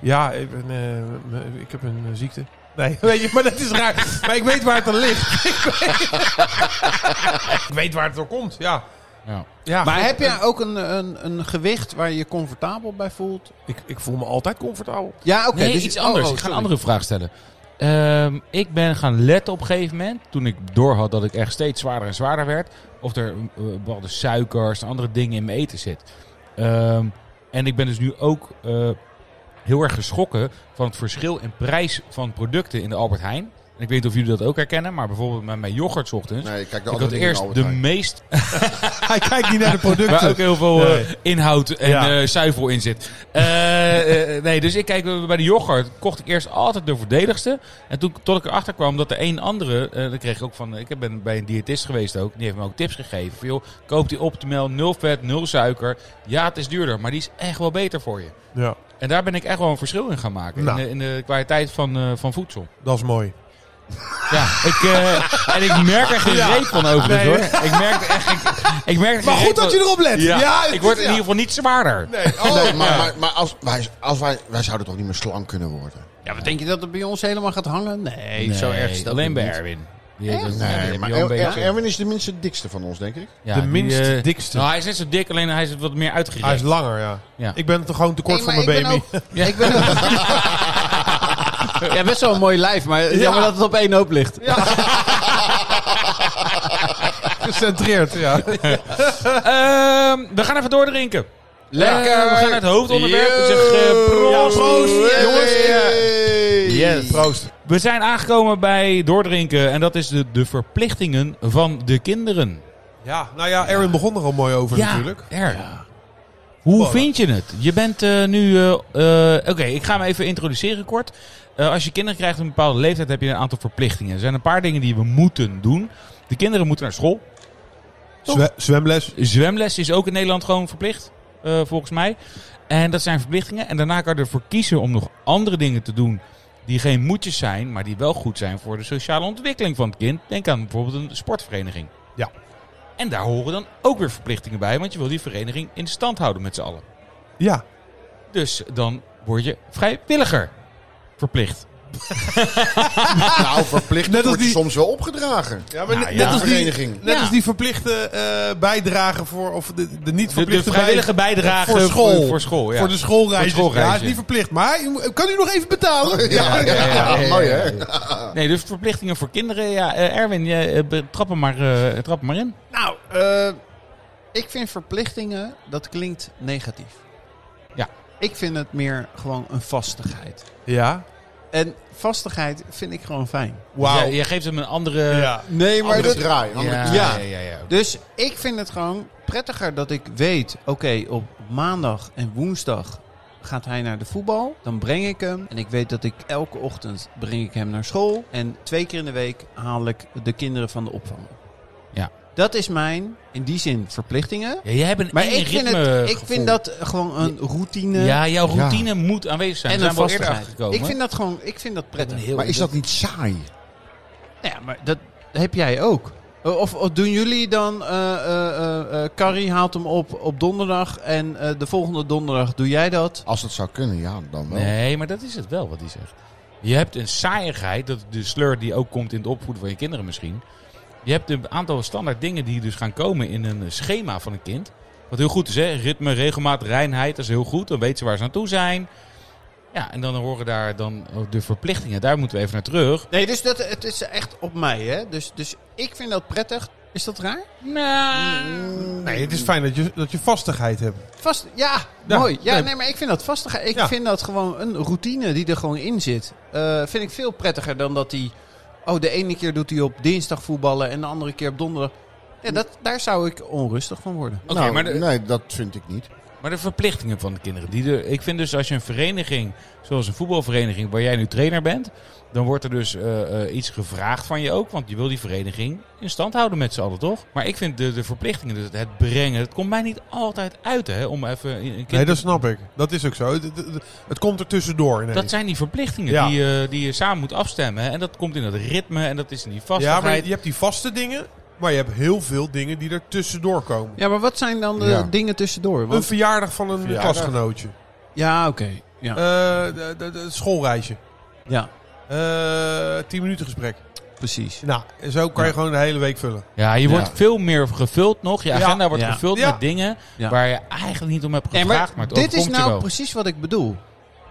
S2: ja, ik, ben, eh, m- ik heb een eh, ziekte. Nee, weet je, maar dat is raar. maar ik weet waar het aan ligt. Ik weet- ik weet waar het door komt, ja.
S4: Ja.
S2: ja
S5: Maar
S2: goed.
S5: heb jij ook een, een, een gewicht waar je je comfortabel bij voelt?
S2: Ik, ik voel me altijd comfortabel.
S5: Ja, oké.
S4: nee,
S5: dus
S4: iets
S5: oh,
S4: anders.
S5: oh,
S4: ik ga een
S5: sorry.
S4: andere vraag stellen. Ehm, ik ben gaan letten op een gegeven moment, toen ik doorhad dat ik echt steeds zwaarder en zwaarder werd, of er eh, bepaalde suikers en andere dingen in mijn eten zit. Ehm, en ik ben dus nu ook eh, heel erg geschrokken van het verschil in prijs van producten in de Albert Heijn. En ik weet niet of jullie dat ook herkennen, maar bijvoorbeeld met mijn yoghurt 's ochtends.
S1: Nee, ik kijk er
S4: ik
S1: altijd
S4: had
S1: niet naar
S4: eerst
S1: Albert
S4: de
S1: Heijn.
S4: meest
S2: Hij kijkt niet naar de
S4: Waar
S2: producten.
S4: ook heel veel eh, inhoud en
S2: Ja.
S4: eh, zuivel in zit. Eh, eh, nee, dus ik kijk eh, bij de yoghurt. Kocht ik eerst altijd de voordeligste. En toen tot ik erachter kwam dat de een andere. eh dat kreeg ik ook van. Ik ben bij een diëtist geweest ook. Die heeft me ook tips gegeven. Van, joh, koop die optimaal. Nul vet, nul suiker. Ja, het is duurder. Maar die is echt wel beter voor je.
S2: Ja,
S4: En daar ben ik echt wel een verschil in gaan maken.
S2: Nou.
S4: In, de, in de kwaliteit van, eh, van voedsel.
S2: dat is mooi.
S4: Ja, ik, eh, en ik merk er geen reet van overigens
S2: Nee.
S4: hoor. Ik merk er echt. Ik, ik merk er
S2: Maar
S4: geen
S2: goed
S4: reet
S2: dat
S4: van-
S2: je erop let. Ja,
S4: ja,
S2: het-
S4: ik word in
S2: ja.
S4: ieder geval niet zwaarder.
S1: Oh, maar, maar, maar als, wij, als wij, wij zouden toch niet meer slank kunnen worden?
S5: Ja, wat denk je dat het bij ons helemaal gaat hangen? Nee, zo erg is dat
S4: Alleen bij
S5: niet.
S4: Erwin. Die heeft
S5: eh,
S4: dat- die
S1: Nee,
S4: heeft
S1: maar
S4: je wel
S1: Er-
S4: een
S1: Er-
S4: beetje-
S1: Erwin is de minste dikste van ons, denk ik.
S4: Ja,
S2: de
S4: die,
S2: minst
S4: eh,
S2: dikste.
S4: Nou, hij is net zo dik, alleen hij is wat meer uitgericht.
S2: Hij is langer, ja.
S4: Ja.
S2: Ik ben toch gewoon te kort
S5: Nee,
S2: voor mijn
S5: maar
S2: baby.
S5: Ik ben ook, ik ben ook- ja, best wel een mooi lijf, maar jammer dat het op één hoop ligt.
S2: Gecentreerd, ja.
S4: Ehm, we gaan even doordrinken.
S5: Lekker.
S4: Eh, we gaan naar het hoofdonderwerp. Ik zeg, eh, proost. Jongens, Yes.
S2: Proost.
S4: we zijn aangekomen bij doordrinken. En dat is de, de verplichtingen van de kinderen.
S2: Ja, nou ja, Erwin begon er al mooi over natuurlijk.
S4: Er. Hoe
S2: Voilà.
S4: vind je het? Je bent eh, nu. eh, eh, Oké, ik ga hem even introduceren kort. Eh, als je kinderen krijgt op een bepaalde leeftijd, heb je een aantal verplichtingen. Er zijn een paar dingen die we moeten doen. De kinderen moeten naar school.
S2: Zwe- zwemles.
S4: Zwemles is ook in Nederland gewoon verplicht, eh, volgens mij. En dat zijn verplichtingen. En daarna kan je ervoor kiezen om nog andere dingen te doen die geen moedjes zijn, maar die wel goed zijn voor de sociale ontwikkeling van het kind. Denk aan bijvoorbeeld een sportvereniging.
S2: Ja.
S4: En daar horen dan ook weer verplichtingen bij, want je wil die vereniging in stand houden met z'n allen.
S2: Ja.
S4: Dus dan word je vrijwilliger. Verplicht.
S1: Nou, verplicht
S2: Net als
S1: wordt je
S2: die-
S1: soms wel opgedragen.
S2: Ja, maar net,
S1: ja.
S2: net als die,
S1: Vereniging.
S2: net
S4: Ja.
S2: als die verplichte eh, bijdrage voor, of de, de niet
S4: De, de
S2: verplichte
S4: vrijwillige
S2: bij-
S4: bijdrage
S2: voor school.
S4: Voor, voor school, ja.
S2: Voor de schoolreis.
S4: Voor Oh, het schoolreisje.
S2: Ja, is niet verplicht. Maar u mo- kan u nog even betalen? Ja.
S1: Ja, mooi hè?
S4: Nee, dus verplichtingen voor kinderen. Ja, eh, Erwin, je, eh, be- trap, hem maar, eh, trap hem maar in.
S5: Nou, eh, ik vind verplichtingen, dat klinkt negatief.
S4: Ja.
S5: Ik vind het meer gewoon een vastigheid.
S2: Ja.
S5: En vastigheid vind ik gewoon fijn.
S4: Dus
S2: Wauw.
S4: jij- jij geeft hem een andere...
S2: Ja.
S5: Nee,
S1: Maar dat draai.
S4: Ja,
S1: Andere
S4: ja,
S5: Ja.
S4: ja, ja, ja.
S5: Dus ik vind het gewoon prettiger dat ik weet... oké, op maandag en woensdag gaat hij naar de voetbal. Dan breng ik hem. En ik weet dat ik elke ochtend breng ik hem naar school. En twee keer in de week haal ik de kinderen van de opvang.
S4: Ja.
S5: Dat is mijn, in die zin, verplichtingen.
S4: Ja, jij hebt een
S5: Maar
S4: één
S5: ik vind,
S4: ritme
S5: het, ik
S4: gevoel.
S5: vind dat gewoon een routine
S4: Ja, jouw routine moet aanwezig zijn.
S5: en
S4: We
S5: een
S4: zijn wel eerder
S5: vastigheid.
S4: achtergekomen.
S5: Ik vind dat gewoon ik vind dat prettig.
S1: Maar is dat niet saai?
S5: Nou ja, maar dat heb jij ook. Of, of doen jullie dan, eh, eh, eh, eh, Carrie haalt hem op op donderdag en eh, de volgende donderdag doe jij dat?
S1: Als het zou kunnen, ja, dan wel.
S4: Nee, maar dat is het wel wat hij zegt. Je hebt een saaiigheid, dat is de sleur die ook komt in het opvoeden van je kinderen misschien. Je hebt een aantal standaard dingen die dus gaan komen in een schema van een kind. Wat heel goed is, hè? Ritme, regelmaat, reinheid, dat is heel goed. Dan weten ze waar ze naartoe zijn. Ja, en dan horen daar dan ook de verplichtingen. Daar moeten we even naar terug.
S5: Nee, dus dat, het is echt op mij, hè? Dus, dus ik vind dat prettig. Is dat raar?
S4: Nou,
S2: Nee, het is fijn dat je, dat je vastigheid hebt.
S5: Vast, ja,
S2: Ja,
S5: mooi. Ja,
S2: nee.
S5: nee. maar ik vind dat vastig. Ik
S2: Ja.
S5: vind dat gewoon een routine die er gewoon in zit. Eh, vind ik veel prettiger dan dat hij... Oh, de ene keer doet hij op dinsdag voetballen en de andere keer op donderdag. Ja, dat, daar zou ik onrustig van worden.
S4: Oké,
S1: Nou,
S4: maar de-
S1: Nee, dat vind ik niet.
S4: Maar de verplichtingen van de kinderen. Die er, ik vind dus als je een vereniging, zoals een voetbalvereniging, waar jij nu trainer bent, dan wordt er dus eh, eh, iets gevraagd van je ook. Want je wil die vereniging in stand houden met z'n allen, toch? Maar ik vind de, de verplichtingen, dus het brengen, het komt mij niet altijd uit hè, om even een kind
S2: Nee,
S4: te-
S2: dat snap ik. Dat is ook zo. Het, het- het- het komt er tussendoor ineens.
S4: Dat zijn die verplichtingen
S2: Ja.
S4: die, je- die je samen moet afstemmen. hè. En dat komt in dat ritme en dat is in die
S2: ja, maar
S4: vastigheid.
S2: je hebt die vaste dingen, maar je hebt heel veel dingen die er tussendoor komen.
S5: Ja, maar wat zijn dan de
S1: Ja.
S5: dingen tussendoor?
S2: Een
S5: Want,
S2: verjaardag van een
S1: Verjaardag.
S2: klasgenootje.
S5: ja, oké. Ja.
S2: Eh, de- de- de- het schoolreisje.
S5: ja,
S2: Eh, 10 minuten gesprek.
S5: precies.
S2: Nou, en zo kan je gewoon de hele week vullen.
S4: Ja, je
S1: Ja.
S4: wordt veel meer gevuld nog. Je
S2: Ja.
S4: agenda wordt
S5: Ja.
S4: gevuld
S2: Ja.
S4: met dingen
S5: Ja.
S4: waar je eigenlijk niet om hebt
S5: Nee,
S4: gevraagd.
S5: maar
S4: maar, het
S5: dit is
S4: overkomt je
S5: nou
S4: wel.
S5: precies wat ik bedoel.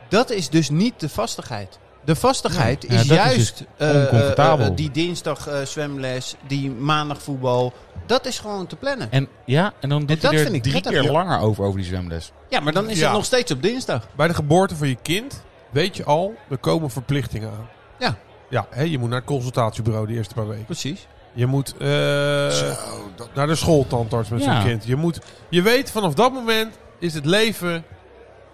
S5: Dat is dus niet de vastigheid. De vastigheid
S4: Ja,
S5: is
S4: dat is
S5: juist
S4: dus
S5: eh,
S4: oncomfortabel.
S5: eh, eh, die dinsdag eh, zwemles, die maandag voetbal. Dat is gewoon te plannen.
S4: En ja, en dan doet
S5: dat
S4: hij
S5: vind
S4: er
S5: ik
S4: drie
S5: prettig.
S4: keer
S5: Ja.
S4: langer over, over die zwemles.
S5: Ja, maar dan is
S2: Ja.
S5: het nog steeds op dinsdag.
S2: Bij de geboorte van je kind weet je al, er komen verplichtingen aan.
S5: Ja.
S2: Ja, hè, je moet naar het consultatiebureau de eerste paar weken.
S5: Precies.
S2: Je moet eh,
S1: Zo, dat-
S2: naar de schooltandarts met
S4: Ja.
S2: zo'n kind. Je, moet, je weet, vanaf dat moment is het leven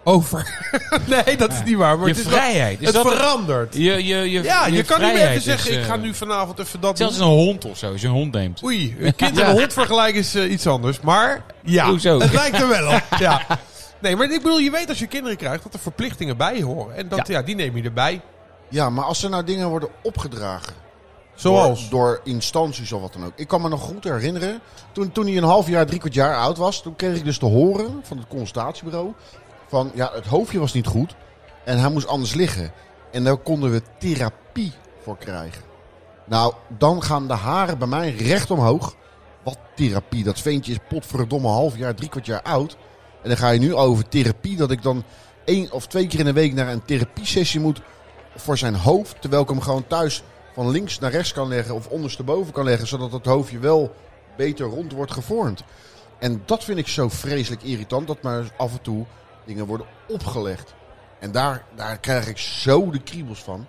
S2: over. nee, dat is niet waar. Maar
S4: Je
S2: het is wel-
S4: vrijheid. Is
S2: het
S4: dat
S2: verandert.
S4: je, je, je,
S2: ja, je, kan niet meer
S4: vrijheid
S2: even zeggen,
S4: is, eh,
S2: ik ga nu vanavond even dat
S4: Zelfs
S2: doen.
S4: een hond of zo, als je een hond neemt.
S2: Oei, een kind en een hond vergelijken is eh, iets anders. Maar ja,
S4: Hoezo?
S2: het lijkt er wel op. Ja. Nee, maar ik bedoel, je weet als je kinderen krijgt dat er verplichtingen bij horen. En dat, ja. die neem je erbij.
S1: Ja, maar als er nou dingen worden opgedragen.
S2: Zoals?
S1: Door, door instanties of wat dan ook. Ik kan me nog goed herinneren. Toen, toen hij een half jaar, drie kwart jaar oud was. Toen kreeg ik dus te horen van het consultatiebureau. Van ja, het hoofdje was niet goed. En hij moest anders liggen. En daar konden we therapie voor krijgen. Nou, dan gaan de haren bij mij recht omhoog. Wat therapie? Dat ventje is potverdomme half jaar, drie kwart jaar oud. En dan ga je nu over therapie. Dat ik dan één of twee keer in de week naar een therapiesessie moet voor zijn hoofd. Terwijl ik hem gewoon thuis van links naar rechts kan leggen of ondersteboven kan leggen. Zodat het hoofdje wel beter rond wordt gevormd. En dat vind ik zo vreselijk irritant. Dat maar af en toe dingen worden opgelegd. En daar, daar krijg ik zo de kriebels van.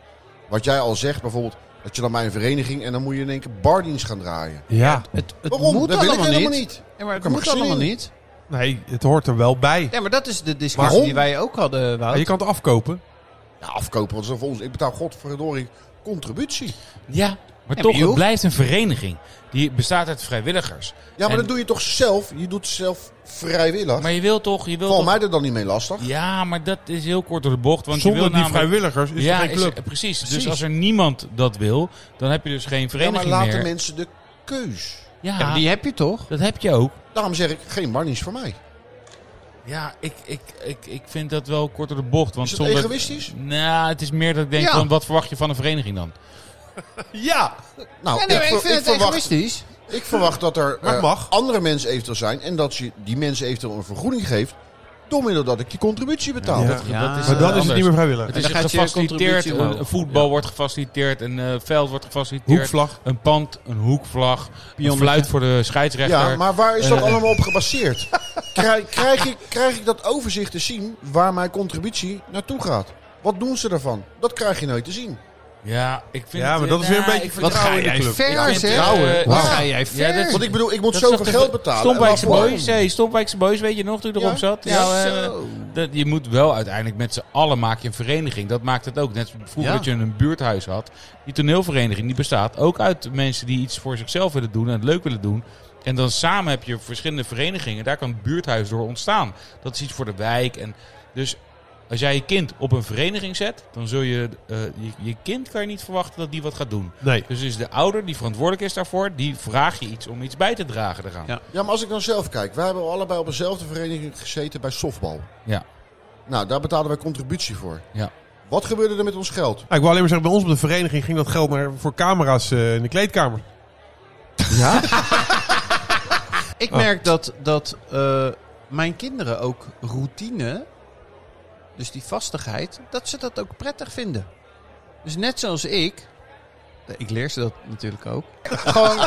S1: Wat jij al zegt, bijvoorbeeld dat je dan bij een vereniging... en dan moet je in één keer bardienst gaan draaien.
S2: Ja.
S5: Het, het
S1: Waarom?
S5: moet
S1: dat wil ik
S5: allemaal
S1: helemaal
S5: niet.
S1: niet.
S5: Ja, maar het
S1: Kan
S5: moet
S1: maar gezien.
S5: allemaal niet.
S2: Nee, het hoort er wel bij.
S5: Ja, maar dat is de discussie
S1: Waarom?
S5: die wij ook hadden,
S2: Ja,
S5: Wout.
S2: je kan het afkopen.
S1: Ja, afkopen, want dat is voor ons. Ik betaal godverdorie contributie.
S4: Ja, maar
S5: maar
S4: toch,
S5: je
S4: het
S5: hoeft-
S4: blijft een vereniging. Die bestaat uit vrijwilligers.
S1: Ja, maar
S4: En-
S1: dat doe je toch zelf? Je doet het zelf vrijwillig.
S4: Maar je wil toch... Je wil
S1: Val
S4: toch
S1: mij er dan niet mee lastig.
S4: ja, maar dat is heel kort door de bocht. Want
S2: Zonder
S4: je
S2: die
S4: wil namelijk...
S2: vrijwilligers is
S4: ja,
S2: er geen
S4: is-
S2: club.
S4: eh, precies. Dus
S1: Precies.
S4: als er niemand dat wil, dan heb je dus geen
S1: Ja,
S4: vereniging
S1: maar laat de
S4: meer.
S1: mensen de keus.
S4: Ja,
S5: Ja, maar die heb je toch?
S4: dat heb je ook.
S1: Daarom zeg ik, geen barnies voor mij.
S4: Ja, ik, ik, ik, ik vind dat wel kort door de bocht. Want
S1: Is het
S4: zonder...
S1: egoïstisch?
S4: Nou, het is meer dat ik denk,
S5: Ja.
S4: van, wat verwacht je van een vereniging dan?
S2: Ja,
S1: Nou,
S5: Ja, nee, maar
S1: ver-
S5: ik vind het
S1: verwacht,
S5: egoïstisch.
S1: ik verwacht dat er
S2: Maar het
S1: eh,
S2: mag.
S1: andere mensen eventueel zijn. En dat je die mensen eventueel een vergoeding geeft. Door middel dat ik je contributie betaal.
S2: Ja.
S1: Dat-
S5: Ja.
S4: dat is,
S2: maar dan
S4: eh,
S2: is het
S4: anders.
S2: niet meer
S4: Het
S2: vrijwillig.
S5: En
S4: is
S5: dan gaat je
S4: gefaciliteerd,
S5: contributie
S4: een
S5: omhoog.
S4: voetbal wordt gefaciliteerd, een eh, veld wordt gefaciliteerd,
S2: Hoekvlag.
S4: een pand, een hoekvlag, een fluit voor de scheidsrechter.
S1: Ja, maar waar is dat
S4: Eh.
S1: allemaal op gebaseerd? Krijg, krijg, ik, krijg ik dat overzicht te zien waar mijn contributie naartoe gaat? Wat doen ze daarvan? Dat krijg je nooit te zien.
S4: Ja, ik vind
S2: Ja,
S4: het,
S2: maar dat is
S4: eh,
S2: weer een
S4: nou,
S2: beetje
S4: ik vind-
S2: vertrouwen in de
S5: jij
S2: club.
S4: ik
S5: ver,
S4: vind,
S5: zeg?
S4: eh,
S1: Trouwen.
S5: Waar
S1: Wauw.
S5: ga jij
S4: Ja, dat
S5: ver?
S4: is-
S1: Want ik bedoel, ik moet
S4: dat is
S1: zoveel
S4: toch de-
S1: geld betalen.
S4: Stompwijkse
S1: En waarvoor?
S4: boys, hey, Stompwijkse boys, weet je nog toen je erop
S1: Ja?
S4: zat?
S5: Ja,
S4: Nou, eh,
S5: zo.
S4: dat, je moet wel uiteindelijk met z'n allen maak je een vereniging. Dat maakt het ook. Net zoals vroeger
S5: Ja.
S4: dat je een buurthuis had. Die toneelvereniging die bestaat ook uit mensen die iets voor zichzelf willen doen en het leuk willen doen. En dan samen heb je verschillende verenigingen. Daar kan het buurthuis door ontstaan. Dat is iets voor de wijk. En dus als jij je kind op een vereniging zet, dan zul je, eh, je je kind kan je niet verwachten dat die wat gaat doen.
S2: Nee.
S4: Dus is de ouder die verantwoordelijk is daarvoor, die vraag je iets om iets bij te dragen eraan.
S5: Ja.
S1: Ja, maar als ik dan zelf kijk. Wij hebben allebei op dezelfde vereniging gezeten bij softbal.
S4: Ja.
S1: Nou, daar betalen wij contributie voor.
S4: Ja.
S1: Wat gebeurde er met ons geld?
S2: Ah, ik wil alleen maar zeggen, bij ons op de vereniging ging dat geld naar, voor camera's eh, in de kleedkamer.
S5: Ik
S2: Oh.
S5: merk dat, dat eh, mijn kinderen ook routine, dus die vastigheid, dat ze dat ook prettig vinden. Dus net zoals ik, eh, ik leer ze dat natuurlijk ook. Gewoon,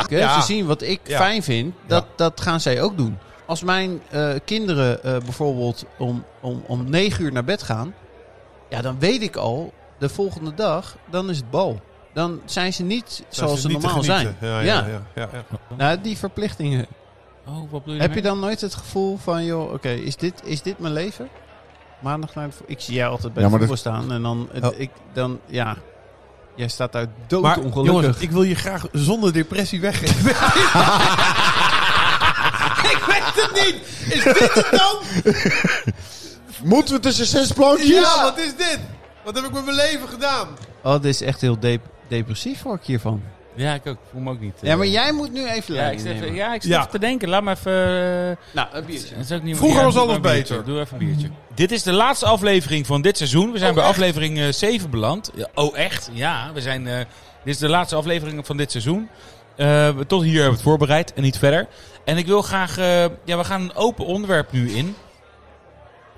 S5: Oké,
S2: Ja.
S5: Ze zien wat ik
S2: Ja.
S5: fijn vind, dat, dat gaan zij ook doen. Als mijn eh, kinderen eh, bijvoorbeeld om, om, om negen uur naar bed gaan, ja, dan weet ik al, de volgende dag, dan is het bal. Dan zijn ze niet
S2: Dat
S5: zoals
S2: is
S5: ze
S2: niet te
S5: normaal zijn.
S2: genieten. Ja, ja, ja. ja, ja.
S5: Nou, die verplichtingen.
S4: Oh, wat bedoel je?
S5: Heb je dan nooit het gevoel van, joh, oké, is, dit, is dit mijn leven? Maandag naar de vo- Ik zie jij altijd bij
S1: Ja,
S5: de
S1: maar dat-
S5: voetbal staan en dan, het-
S2: Oh.
S5: ik, dan, ja, jij staat daar dood
S2: Maar
S5: ongelukkig.
S2: jongens, ik wil je graag zonder depressie weggeven.
S5: ik weet het niet! Is dit het dan?
S1: Moeten we tussen zes plankjes?
S2: Ja, wat is dit? Wat heb ik met mijn leven gedaan?
S5: Oh, dit is echt heel dep- depressief word ik hiervan.
S4: Ja, ik ook. Ik voel me ook niet. eh,
S5: Ja, maar jij moet nu even
S4: Ja, ik
S5: leiding
S4: zit even,
S5: nemen.
S4: ja, ik zit
S2: Ja.
S4: even te denken. Laat me even... eh,
S5: Nou, een biertje.
S4: het is ook niet
S2: Vroeger
S4: ja,
S2: was
S4: doe
S2: alles
S4: maar een biertje.
S2: beter.
S4: Doe even een biertje. Dit is de laatste aflevering van dit seizoen. We
S2: Oh,
S4: zijn bij aflevering eh, 7 beland. Ja, Oh, echt? Ja, we zijn... eh, dit is de laatste aflevering van dit seizoen. Eh, we- tot hier hebben we het voorbereid en niet verder. En ik wil graag... eh, ja, we gaan een open onderwerp nu in.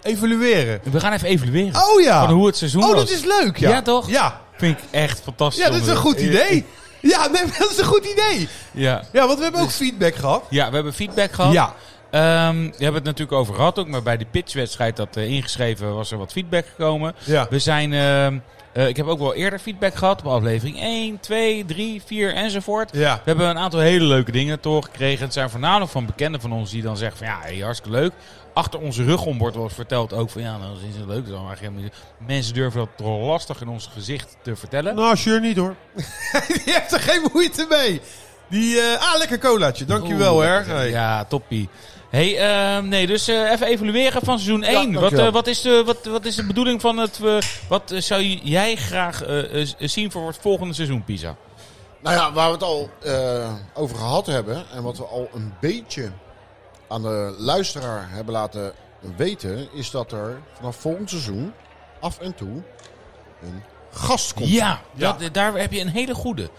S2: Evalueren.
S4: We gaan even evalueren.
S2: Oh ja.
S4: Van hoe het seizoen
S2: Oh,
S4: was.
S2: dat is leuk, ja.
S4: Ja, toch?
S2: Ja,
S4: Vind ik echt fantastisch.
S2: ja dat is een
S4: om-
S2: goed idee. Ja, nee, maar dat is een goed idee.
S4: Ja.
S2: Ja, want we hebben ook feedback gehad.
S4: Ja, we hebben feedback gehad.
S2: Ja,
S4: Ehm, we hebben het natuurlijk over gehad ook, maar bij de pitchwedstrijd dat eh, ingeschreven was er wat feedback gekomen.
S2: ja.
S4: We zijn, ehm, eh, ik heb ook wel eerder feedback gehad op aflevering 1, 2, 3, 4 enzovoort.
S2: ja.
S4: We hebben een aantal hele leuke dingen doorgekregen. Het zijn voornamelijk van bekenden van ons die dan zeggen van ja, hey, hartstikke leuk. Achter onze rug om wordt wel eens verteld ook van ja, nou, dat is niet leuk. Dat is allemaal helemaal niet- Mensen durven dat toch lastig in ons gezicht te vertellen.
S2: Nou, sure niet hoor. Die heeft er geen moeite mee. Die, eh, ah, lekker colaatje. Dankjewel,
S4: Oeh,
S2: hè.
S4: lekker.
S2: Hey.
S4: Ja, toppie. Hey, ehm, nee, dus eh, even evalueren van seizoen 1. wat,
S1: dankjewel.
S4: eh, wat, is de, wat, wat is de bedoeling van het... eh, wat eh, zou jij graag eh, eh, zien voor het volgende seizoen, Pisa?
S1: Nou ja, waar we het al eh, over gehad hebben en wat we al een beetje aan de luisteraar hebben laten weten, is dat er vanaf volgend seizoen af en toe een gast komt.
S4: Ja, dat- eh, daar heb je een hele goede.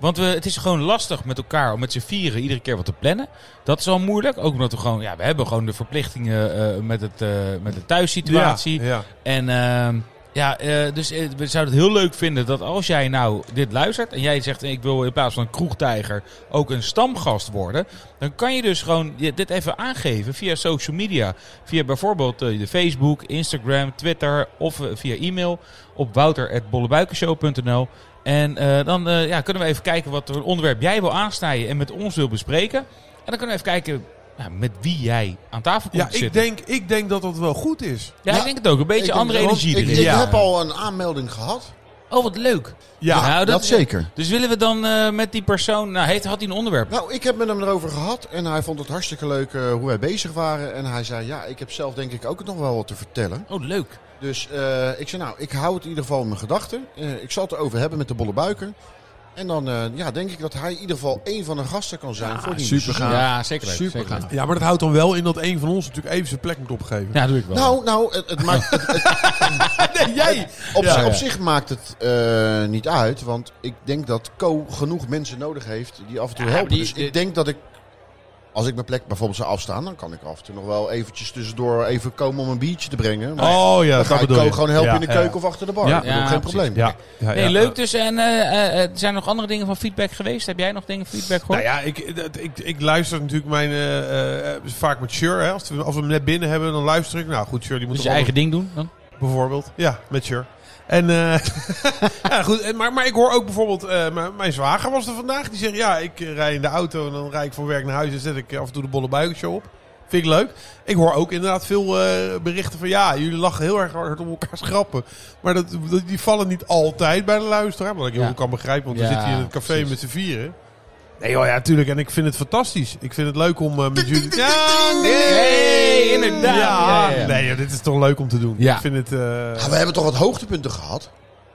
S4: Want we, het is gewoon lastig met elkaar om met z'n vieren iedere keer wat te plannen. Dat is al moeilijk. Ook omdat we gewoon... Ja, we hebben gewoon de verplichtingen eh, met, het, eh, met de thuissituatie.
S2: Ja, ja.
S4: En ehm, ja, eh, dus eh, we zouden het heel leuk vinden dat als jij nou dit luistert en jij zegt ik wil in plaats van een kroegtijger ook een stamgast worden, dan kan je dus gewoon je- dit even aangeven via social media, via bijvoorbeeld eh, de Facebook, Instagram, Twitter of eh, via e-mail op wouter@bollebuikenshow.nl. En eh, dan eh, ja, kunnen we even kijken wat voor onderwerp jij wil aansnijden en met ons wil bespreken. En dan kunnen we even kijken ja, met wie jij aan tafel komt
S2: Ja,
S4: te
S2: ik
S4: zitten.
S2: denk, ik denk dat dat wel goed is.
S4: ja, ik
S1: Ja,
S4: denk het ook. Een beetje
S1: Ik denk-
S4: andere
S1: want
S4: energie
S1: Ik,
S4: erin.
S1: ik
S2: Ja.
S1: heb al een aanmelding gehad.
S4: Oh, wat leuk.
S2: Ja,
S4: Nou,
S1: dat zeker.
S4: Dus willen we dan eh, met die persoon... Nou, heeft, had hij een onderwerp?
S1: Nou, ik heb met hem erover gehad en hij vond het hartstikke leuk eh, hoe wij bezig waren. En hij zei, ja, ik heb zelf denk ik ook nog wel wat te vertellen.
S4: Oh, leuk.
S1: Dus eh, ik zei, nou, ik hou het in ieder geval in mijn gedachten. Eh, ik zal het erover hebben met de bolle buiken. En dan eh, ja, denk ik dat hij in ieder geval één van de gasten kan zijn voor die
S5: super gaaf.
S4: Ja, zeker leuk.
S5: Super
S4: zeker leuk.
S5: gaaf.
S2: Ja, maar dat houdt dan wel in dat een van ons natuurlijk even zijn plek moet opgeven.
S4: Ja, doe ik wel.
S1: Nou, nou, het, het maakt, het-
S2: Nee, jij!
S1: op,
S2: Ja,
S1: zich-
S4: ja.
S1: op zich maakt het eh, niet uit. Want ik denk dat Co genoeg mensen nodig heeft die af en toe
S4: Ja,
S1: helpen.
S4: maar die-
S1: dus ik denk dat ik, als ik mijn plek bijvoorbeeld zou afstaan... dan kan ik af en toe nog wel eventjes tussendoor even komen om een biertje te brengen. Maar
S2: Oh ja,
S1: dan
S2: dat
S1: ga ik
S2: bedoel
S1: Co
S2: je.
S1: gewoon helpen
S2: Ja,
S1: in de
S2: ja.
S1: keuken of achter de bar.
S2: Ja.
S1: Ja,
S4: Ja, precies.
S1: geen probleem.
S2: Ja, ja,
S4: nee,
S2: ja.
S4: leuk dus. En eh, eh, zijn er nog andere dingen van feedback geweest? Heb jij nog dingen van feedback gehoord?
S2: Nou ja, ik, dat- ik, ik luister natuurlijk mijn, eh, eh, vaak met Sure. Hè. Als, we, als we hem net binnen hebben, dan luister ik. Nou goed, Sure, die moet
S4: dus je
S2: toch
S4: eigen ding doen dan?
S2: Bijvoorbeeld. Ja, met Sure. En, eh, ja, goed, en- maar, maar ik hoor ook bijvoorbeeld, eh, m- mijn zwager was er vandaag. Die zegt, ja, ik eh, rij in de auto en dan rijd ik van werk naar huis en zet ik af en toe de bolle buikenshow op. Vind ik leuk. Ik hoor ook inderdaad veel eh, berichten van, ja, jullie lachen heel erg hard om elkaar schrappen. Maar dat, dat- die vallen niet altijd bij de luisteraar. Wat ik heel
S4: Ja.
S2: goed kan begrijpen, want
S4: Ja,
S2: we zitten hier in het café
S4: precies.
S2: met z'n vieren. Nee joh, ja, natuurlijk. En ik vind het fantastisch. Ik vind het leuk om eh, met jullie... Ja, nee.
S4: Hey, inderdaad. Ja,
S2: Ja,
S4: ja, ja.
S2: Nee, joh, dit is toch leuk om te doen.
S4: Ja.
S2: Ik vind het... eh,
S1: Ja, Nou, we hebben toch wat hoogtepunten gehad?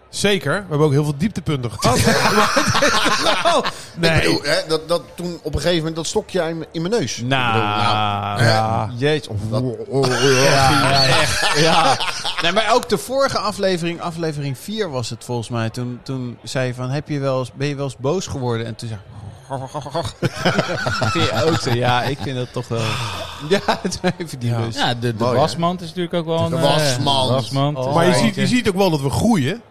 S2: Zeker. We hebben ook heel veel dieptepunten
S4: Oh,
S2: gehad. Maar-
S1: Ik
S2: nee.
S1: bedoel, hè, dat, dat toen op een gegeven moment dat stokje in, mijn- in mijn neus.
S5: Nou,
S2: Ja.
S5: jeetje. oh, echt. Nee, maar ook de vorige aflevering, aflevering 4 was het volgens mij. Toen, toen zei je van, heb je wel eens, ben je wel eens boos geworden? En toen zei ik... Ja, ook zo. Ja, ik vind dat toch wel... Nou, Ja, het is even die lust.
S4: Ja, de, de
S1: Mooi, hè?
S4: wasmand is natuurlijk ook wel een...
S1: De
S4: eh,
S1: wasmand.
S4: wasmand.
S5: Oh.
S2: Maar je
S5: Ja.
S2: ziet, je ziet ook wel dat we groeien.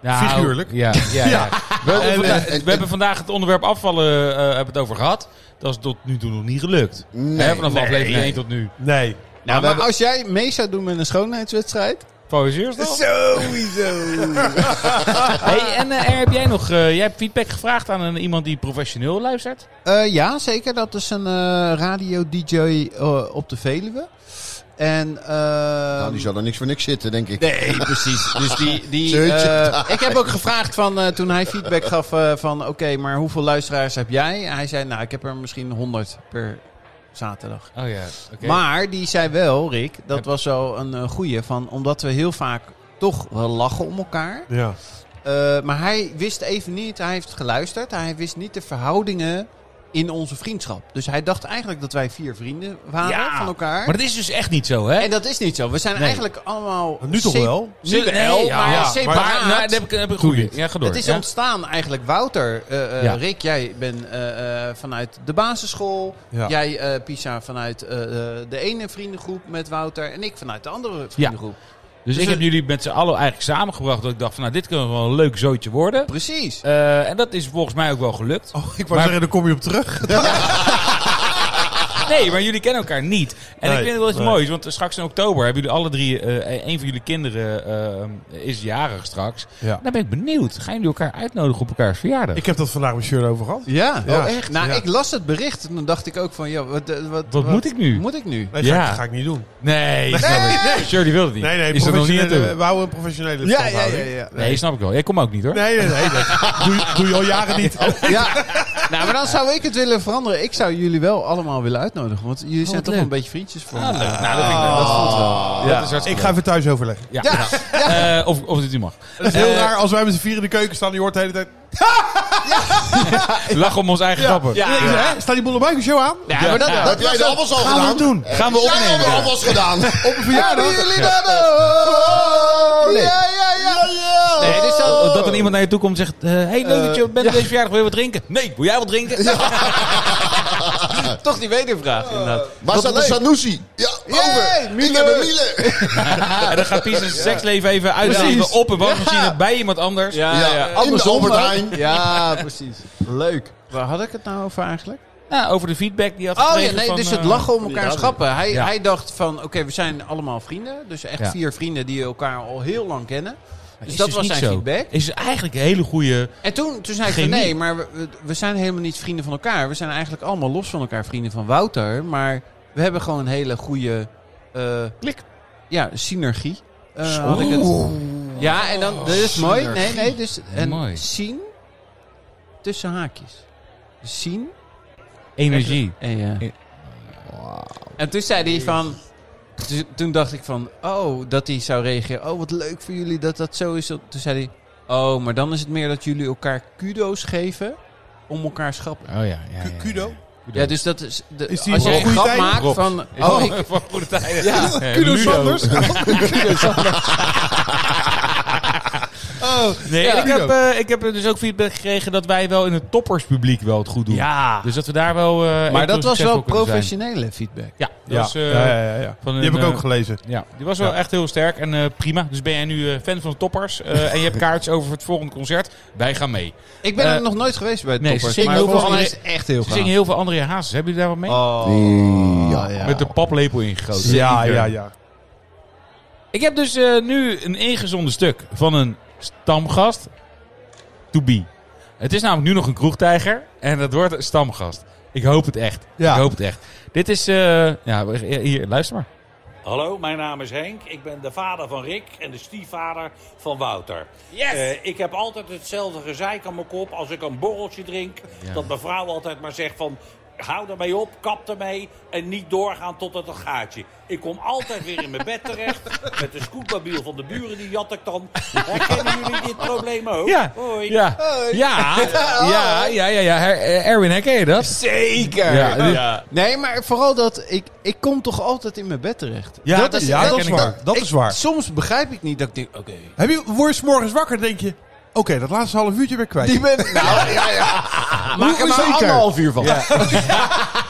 S4: Nou,
S2: figuurlijk.
S4: Ja, ja, ja. We, hebben
S1: En,
S4: vandaag-
S1: en-
S4: we hebben vandaag het onderwerp afvallen eh, hebben het over gehad. Dat is tot nu toe nog niet gelukt.
S1: Nee.
S4: Hè, vanaf aflevering 1 tot nu.
S2: Nee.
S5: Nou,
S1: we
S5: maar
S1: hebben-
S5: als jij mee zou doen met een schoonheidswedstrijd...
S4: Pauzeers dan?
S2: Sowieso.
S4: Hey, en eh, er heb jij nog... eh, jij hebt feedback gevraagd aan een, iemand die professioneel luistert?
S5: Eh, ja, zeker. Dat is een eh, radio-dj eh, op de Veluwe. En, eh,
S1: Nou, die zal er niks voor niks zitten, denk ik.
S5: Nee, precies. Dus die, die,
S1: Zeuntje
S5: eh,
S1: daar.
S5: ik heb ook gevraagd van, eh, toen hij feedback gaf eh, van... Oké, maar hoeveel luisteraars heb jij? En hij zei, nou, ik heb er misschien 100 per zaterdag.
S4: Oh ja, oké.
S5: Maar die zei wel, Rick, dat
S4: Heb-
S5: was wel een eh, goeie. Van, omdat we heel vaak toch wel lachen om elkaar.
S2: Ja.
S5: Eh, maar hij wist even niet, hij heeft geluisterd. Hij wist niet de verhoudingen in onze vriendschap. Dus hij dacht eigenlijk dat wij vier vrienden waren
S4: Ja,
S5: eh, van elkaar.
S4: Maar dat is dus echt niet zo, hè?
S5: En dat is niet zo. We zijn
S4: Nee.
S5: eigenlijk allemaal...
S2: Nu toch
S5: sep-
S2: wel?
S4: Zul-
S5: Nee,
S4: ja,
S5: maar
S4: ja.
S5: separaat.
S4: Maar, nou, dan heb ik, dan heb ik een goeie. Ja, ga door.
S5: Het is
S4: ja?
S5: ontstaan eigenlijk, Wouter. eh, eh,
S4: Ja.
S5: Rick, jij bent eh, eh, vanuit de basisschool.
S2: Ja.
S5: Jij, eh, Pisa, vanuit eh, eh, de ene vriendengroep met Wouter. En ik vanuit de andere vriendengroep.
S4: Dus ik
S5: Dus-
S4: heb jullie met z'n allen eigenlijk samengebracht. Dat ik dacht van, nou, dit kan wel een leuk zootje worden.
S5: Precies.
S4: Eh, en dat is volgens mij ook wel gelukt.
S2: Oh, ik wou
S4: Maar-
S2: zeggen, daar kom je op terug.
S4: Nee, maar jullie kennen elkaar niet. En
S2: Nee,
S4: ik vind het wel iets
S2: nee.
S4: moois, want straks in oktober hebben jullie alle drie... eh een van jullie kinderen eh, is jarig straks.
S2: Ja.
S4: Dan ben ik benieuwd. Gaan jullie elkaar uitnodigen op elkaars verjaardag?
S2: Ik heb dat vandaag met Sjeur over gehad.
S5: Ja,
S2: Ja.
S5: oh, echt? Nou,
S2: Ja.
S5: ik las het bericht en dan dacht ik ook van, ja, wat, eh, wat,
S4: Wat moet ik nu?
S5: Moet ik nu?
S2: Nee,
S4: Ja.
S2: ga, ik, ga ik niet doen.
S4: Nee, snap ik. Shirley wil het niet.
S2: Nee, nee,
S4: is er nog niet aan toe?
S2: professionele, we houden een professionele verstandhouding.
S4: Nee, snap ik wel. Jij komt ook niet hoor. Oh,
S2: Nee, nee, nee. dat doe, je- doe je al jaren niet.
S5: Ja. nou, maar dan zou ik het willen veranderen. Ik zou jullie wel allemaal willen uitnodigen, want jullie zijn
S4: Oh, wat
S5: toch
S4: leuk.
S5: een beetje vriendjes voor
S4: Ah,
S5: me.
S4: leuk. Nou, dat, vind ik, dat voelt wel.
S5: Ja.
S4: Dat is hartstikke
S2: Ik ga
S4: leuk.
S2: even thuis overleggen.
S4: Ja. Eh, of, of dit u mag.
S2: Het is heel
S4: Eh,
S2: raar als wij met z'n vier in de keuken staan. Die hoort de hele tijd.
S4: We lachen om ons eigen grappen.
S5: Ja.
S2: Ik zeg, hè, Staat die bolle show aan?
S5: Ja, maar dat,
S4: Ja.
S5: dat
S1: Heb jij de appels al
S2: Gaan we
S1: gedaan?
S2: het doen.
S1: Gaan we opnemen. Jij hebt de appels gedaan. Op een verjaardag. jullie dat ook? Ja, ja, ja, ja.
S4: Nee, dit is
S2: Oh.
S4: zo- dat er iemand naar je toe komt en zegt... eh, hey, leuk dat je bent op deze verjaardag. Wil je wat drinken? Nee, wil jij wat drinken?
S5: is toch die wedervraag inderdaad.
S1: Waar staat de Sanusi? Ja, over. Ik heb een Miele.
S4: En dan gaat Pies zijn seksleven even uitleven op een wasmachine bij iemand anders.
S5: Ja,
S1: Ja, in de Albert Heijn.
S5: Ja, precies. Leuk. Waar had ik het nou over eigenlijk?
S4: Nou, over de feedback die je had
S5: Oh ja,
S4: gekregen
S5: nee,
S4: van,
S5: dus het
S4: eh,
S5: lachen om elkaar schappen. Hij,
S4: Ja.
S5: hij dacht van, oké, we zijn allemaal vrienden. Dus echt
S4: Ja.
S5: vier vrienden die elkaar al heel lang kennen. Dus
S4: is
S5: dat
S4: dus
S5: was
S4: niet
S5: zijn
S4: zo.
S5: feedback.
S4: Is eigenlijk een hele goede...
S5: En toen, toen zei ik van,
S4: Chemie.
S5: nee, maar we- we, we zijn helemaal niet vrienden van elkaar. We zijn eigenlijk allemaal los van elkaar vrienden van Wouter. Maar we hebben gewoon een hele goede... eh,
S4: Klik.
S5: Ja, synergie. eh, had ik het. Ja, en dan... Dat is mooi. Nee, nee, dus... En
S4: Mooi.
S5: zien tussen haakjes. Zien
S4: Energie.
S5: en ja.
S4: Ja.
S5: En toen zei hij van... to- Toen dacht ik van... Oh, dat hij zou reageren. Oh, wat leuk voor jullie dat dat zo is. Toen zei hij... Oh, maar dan is het meer dat jullie elkaar kudo's geven... om elkaar schappen.
S4: Oh ja, ja, ja, ja.
S2: Kudo.
S5: Ja, dus dat is... de-
S2: Is die
S5: als
S2: voor
S5: jij een
S2: goede
S5: grap
S2: tijden?
S5: maakt
S4: Rob.
S5: van...
S4: Oh,
S5: Oh, ik,
S4: van goede tijden.
S5: Ja,
S4: Eh,
S2: Kudo
S4: Ludo.
S2: Sanders. Oh,
S4: Nee,
S5: Ja.
S4: en ik, heb, eh, ik heb dus ook feedback gekregen dat wij wel in het topperspubliek wel het goed doen.
S5: ja.
S4: Dus dat we daar wel... eh, echt
S5: Maar dat was
S4: succesvol kunnen zijn.
S5: wel professionele feedback.
S4: Ja, dat
S2: Ja.
S4: was, eh,
S2: ja, ja, ja, ja.
S4: van
S2: Die
S4: een,
S2: heb ik ook
S4: eh,
S2: gelezen.
S4: Ja, die was wel echt heel sterk en eh, prima. Dus ben jij nu eh, fan van de toppers eh, en je hebt kaartjes over voor het volgende concert, wij gaan mee.
S5: Ik ben
S4: Eh,
S5: er nog nooit geweest bij de
S4: nee, ze
S5: toppers.
S4: zingen
S5: Maar
S4: heel veel
S5: volgens mij
S4: andere-
S5: is het echt heel
S4: Ze zingen
S5: gaaf.
S4: heel veel André Hazes. Hebben jullie daar wat mee?
S5: Oh,
S1: Ja.
S4: Met de paplepel ingegoten.
S2: Ja, ja, ja.
S4: Ik heb dus eh, nu een ingezonden stuk van een stamgast. To be. Het is namelijk nu nog een kroegtijger. En dat wordt een stamgast. Ik hoop het echt.
S2: Ja.
S4: Ik hoop het echt. Dit is... eh, ja, hier, luister maar.
S6: Hallo, mijn naam is Henk. Ik ben de vader van Rick en de stiefvader van Wouter.
S4: Yes!
S6: Eh, ik heb altijd hetzelfde gezeik aan mijn kop als ik een borreltje drink. Dat mijn vrouw altijd maar zegt van... Hou ermee op, kap ermee en niet doorgaan tot het een gaatje. Ik kom altijd weer in mijn bed terecht. Met de scootmobiel van de buren, die jat ik dan. Herkennen jullie dit probleem ook?
S4: Ja.
S6: Hoi.
S4: Ja. Ja. Ja. Ja. Ja. ja. Her- eh, Erwin, herken je dat?
S5: Zeker!
S4: Ja, dit-
S5: Nee, maar vooral dat ik, ik kom toch altijd in mijn bed terecht.
S2: Ja, dat, ja, dat, is
S4: ken ik
S2: waar. Dat
S5: Ik-
S2: is waar.
S5: Soms begrijp ik niet dat ik denk, oké.
S2: Heb je, word je 's morgens wakker denk je... Oké, dat laatste half uurtje ben ik kwijt.
S5: Die ben nou ja, ja. Maak er maar
S2: zeker?
S5: anderhalf uur van.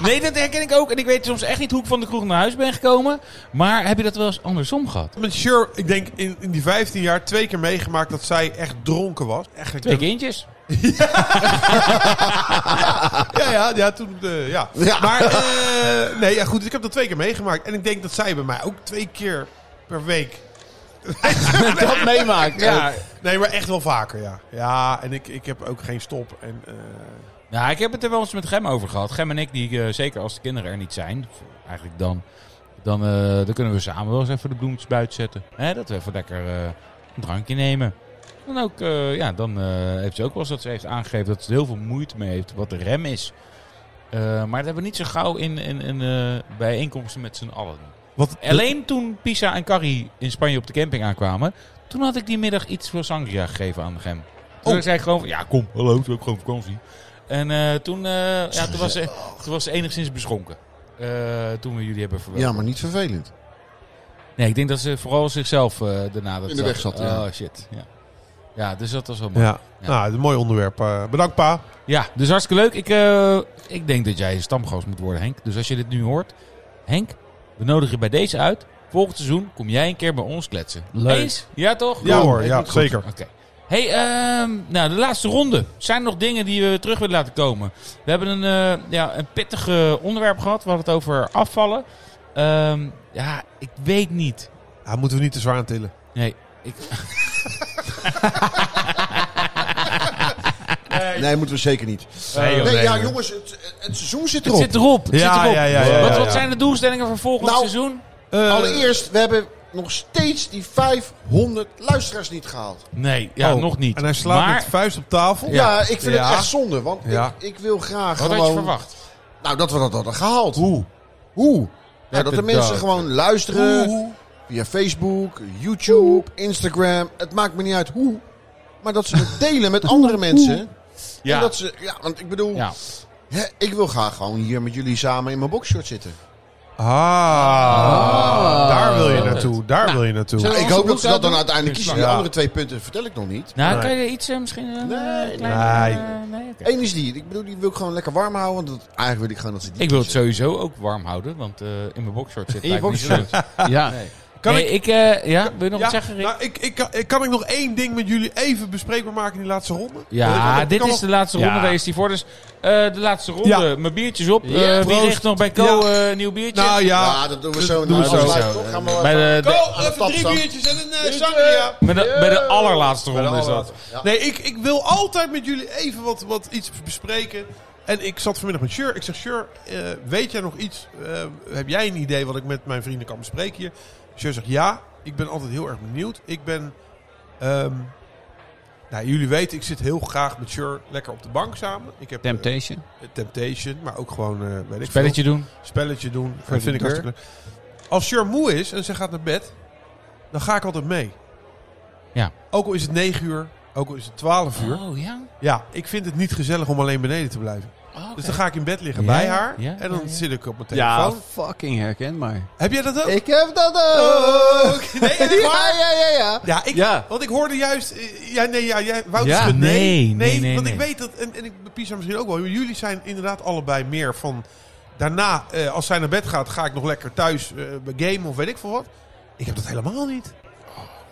S4: Nee, dat herken ik ook. En ik weet soms echt niet hoe ik van de kroeg naar huis ben gekomen. Maar heb je dat wel eens andersom gehad?
S2: Met Sure, ik denk in, in die 15 jaar twee keer meegemaakt dat zij echt dronken was. Eigenlijk
S4: Twee kindjes.
S2: Ja, ja, ja, toen, eh, ja.
S1: Ja.
S2: Maar, eh, nee, ja, goed, ik heb dat twee keer meegemaakt. En ik denk dat zij bij mij ook twee keer per week
S5: dat meemaakt. Ja.
S2: Nee, maar echt wel vaker, ja. Ja, en ik, ik heb ook geen stop. En, eh,
S4: Nou, ik heb het er wel eens met Gem over gehad. Gem en ik, die, eh, zeker als de kinderen er niet zijn, of eigenlijk dan, dan, eh, dan kunnen we samen wel eens even de bloemetjes buiten zetten. Hè, dat we even lekker eh, een drankje nemen. Dan, ook, eh, ja, dan eh, heeft ze ook wel eens dat ze heeft aangegeven dat ze er heel veel moeite mee heeft wat de rem is. Eh, maar dat hebben we niet zo gauw in, in, in eh, bijeenkomsten met z'n allen.
S2: wat,
S4: Alleen toen Pisa en Carrie in Spanje op de camping aankwamen, toen had ik die middag iets voor sangria gegeven aan Gem. Toen zei ik gewoon van, ja kom, hallo, we hebben gewoon vakantie. En eh, toen, eh, ja, toen, was ze, toen was ze enigszins beschonken. Eh, toen we jullie hebben verwelkomd.
S1: Ja, maar niet vervelend.
S4: Nee, ik denk dat ze vooral zichzelf eh, daarna... Dat
S1: In de weg zat,
S4: Oh
S1: ja.
S4: shit, ja. Ja, dus dat was wel mooi. Ja,
S2: ja. Nou, het is een mooi onderwerp. eh, bedankt, pa.
S4: dus hartstikke leuk. Ik, eh, ik denk dat jij stamgast moet worden, Henk. Dus als je dit nu hoort... Henk, we nodigen je bij deze uit. Volgend seizoen kom jij een keer bij ons kletsen.
S5: Leuk.
S4: Eens? Ja, toch?
S2: Ja
S4: Kom.
S2: hoor, ja, zeker.
S4: Oké. Hey, ehm, nou, de laatste ronde. Zijn er nog dingen die we terug willen laten komen? We hebben een, eh, ja, een pittig eh, onderwerp gehad. We hadden het over afvallen. Ehm, ja, ik weet niet.
S2: Ja, moeten we niet te zwaar aan tillen.
S4: Nee, ik,
S1: Nee, moeten we zeker niet.
S4: nee, joh,
S1: Nee,
S4: nee,
S1: ja,
S4: joh.
S1: jongens, het, het seizoen zit
S4: Het
S1: erop.
S4: zit erop. Het
S2: Ja,
S4: zit erop.
S2: ja, ja, ja,
S4: wat,
S2: ja,
S4: wat
S2: ja.
S4: zijn de doelstellingen voor volgend
S1: Nou,
S4: seizoen?
S2: Eh,
S1: Allereerst, we hebben nog steeds die 500 luisteraars niet gehaald.
S4: Nee, ja,
S2: oh,
S4: nog niet.
S2: En hij slaat
S4: maar
S2: met de vuist op tafel.
S1: Ja, ik vind
S2: Ja.
S1: het echt zonde, want
S2: Ja.
S1: ik, ik wil
S4: wat
S1: graag
S4: had je
S1: gewoon...
S4: verwacht?
S1: Nou, dat we dat hadden gehaald. Hoe? Hoe? Nou, dat de mensen gewoon luisteren via Facebook, YouTube, Instagram. Het maakt me niet uit hoe. Maar dat ze het delen met andere mensen. Ja.
S4: Ja.
S1: En dat ze, ja, want ik bedoel,
S4: Ja.
S1: hè, ik wil graag gewoon hier met jullie samen in mijn boxshort zitten.
S2: Ah,
S4: Ah.
S2: daar wil je naartoe. Daar wil je naartoe.
S1: Nou, ik hoop dat ze dat dan uiteindelijk
S4: Ja.
S1: kiezen. Die andere twee punten vertel ik nog niet.
S4: Nou,
S2: Nee.
S4: kan je iets eh, misschien... eh,
S1: Nee,
S4: klein,
S2: nee.
S4: eh, nee, oké.
S1: Eén is die. Ik bedoel, die wil ik gewoon lekker warm houden. Want dat, eigenlijk wil ik gewoon dat ze die
S4: Ik wil het sowieso ook warm houden, want eh, in mijn boxshort zit
S5: In
S4: het
S5: je
S4: boxshort.
S5: Ja.
S2: Kan
S4: nee, ik... eh, ja, wil je nog
S2: Ja,
S4: wat zeggen, Rick?
S2: nou, ik, ik, kan- ik- kan ik nog één ding met jullie even bespreekbaar maken in die laatste ronde?
S4: Ja,
S2: Want ik- ik
S4: dit
S2: kan
S4: is de laatste ronde.
S5: Ja.
S4: Daar is die voor. Dus eh, de laatste ronde.
S2: Ja.
S4: Mijn biertjes op. Eh,
S5: Ja,
S4: wie
S2: proost.
S4: richt nog bij Co
S2: Ja.
S4: eh, een nieuw biertje?
S2: wel- Nou
S1: Ja,
S2: ja.
S1: dat doen we zo.
S2: doen we
S1: Nou,
S2: zo.
S1: dat lijkt toch, gaan we wel
S4: bij,
S1: even-
S4: de, de-
S2: Oh, even drie
S1: Tapsang.
S2: biertjes en een eh, sangria.
S4: bij, de, bij de allerlaatste ronde is dat.
S2: Nee, ik, ik wil altijd met jullie even wat, wat iets bespreken. En ik zat vanmiddag met Sjur. Ik zeg, Sjur, eh, weet jij nog iets? Eh, heb jij een idee wat ik met mijn vrienden kan bespreken hier? Sjur zegt, ja, ik ben altijd heel erg benieuwd. Ik ben... ehm, nou, jullie weten, ik zit heel graag met Sjur lekker op de bank samen. Ik heb eh,
S5: Temptation.
S2: Temptation, maar ook gewoon, eh weet ik veel,
S4: Spelletje doen.
S2: spelletje doen.
S5: Voor
S2: Dat
S5: de
S2: vind ik
S5: deur.
S2: hartstikke leuk. Als Sjur moe is en ze gaat naar bed, dan ga ik altijd mee.
S4: Ja.
S2: Ook al is het 9 uur, ook al is het 12 uur.
S4: Oh ja.
S2: Ja, ik vind het niet gezellig om alleen beneden te blijven. Dus dan ga ik in bed liggen
S4: Oh, Ja,
S2: bij haar
S4: ja,
S2: en dan
S4: ja, ja.
S2: zit ik op mijn
S5: Ja,
S2: telefoon.
S5: Oh, fucking herkenbaar.
S2: Heb jij dat ook?
S1: Ik heb dat ook.
S2: Nee, echt
S1: Ja,
S2: waar?
S1: ja, ja, ja.
S2: Ja, ik,
S5: Ja.
S2: want ik hoorde juist... eh, Ja, nee, ja, jij, Wouter
S5: Ja.
S2: schudt nee.
S4: Nee, nee, nee,
S2: want
S4: nee.
S2: ik weet dat... En, en ik Pisa misschien ook wel. Jullie zijn inderdaad allebei meer van... Daarna, eh, als zij naar bed gaat, ga ik nog lekker thuis eh gamen of weet ik veel wat. Ik heb dat helemaal niet.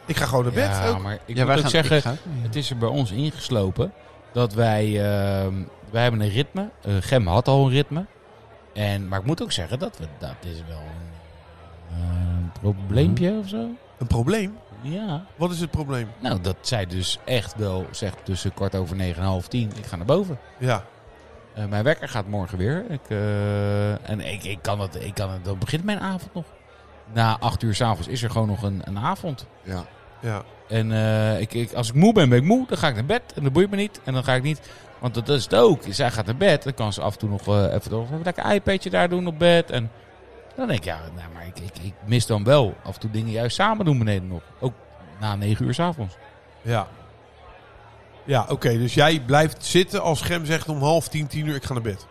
S2: Ik ga gewoon naar bed.
S4: Ja,
S2: ook.
S4: maar ik
S5: Ja,
S4: moet
S5: wij
S4: ook
S5: gaan
S4: zeggen,
S5: ik ga ook
S4: het is er bij ons ingeslopen dat wij, ehm, wij hebben een ritme. Eh, Gem had al een ritme. En, maar ik moet ook zeggen dat we, dat is wel een eh, probleempje of zo.
S2: Een probleem?
S4: Ja.
S2: Wat is het probleem?
S4: Nou, dat zij dus echt wel zegt tussen kwart over negen en half tien, ik ga naar boven.
S2: Ja.
S4: Eh, mijn wekker gaat morgen weer. Ik, eh, en ik, ik kan dat, ik kan het, dan begint mijn avond nog. Na acht uur s'avonds is er gewoon nog een, een avond.
S1: Ja.
S2: Ja.
S4: En eh, ik, ik, als ik moe ben, ben ik moe. Dan ga ik naar bed en dat boeit me niet. En dan ga ik niet... Want dat, dat is het ook. Zij gaat naar bed. Dan kan ze af en toe nog eh, even door- even lekker iPadje daar doen op bed. En dan denk ik, ja, nou, maar ik, ik, ik mis dan wel af en toe dingen juist samen doen beneden nog. Ook na negen uur s'avonds.
S2: Ja. Ja, oké. dus jij blijft zitten als Gem zegt om half tien, tien uur, ik ga naar bed.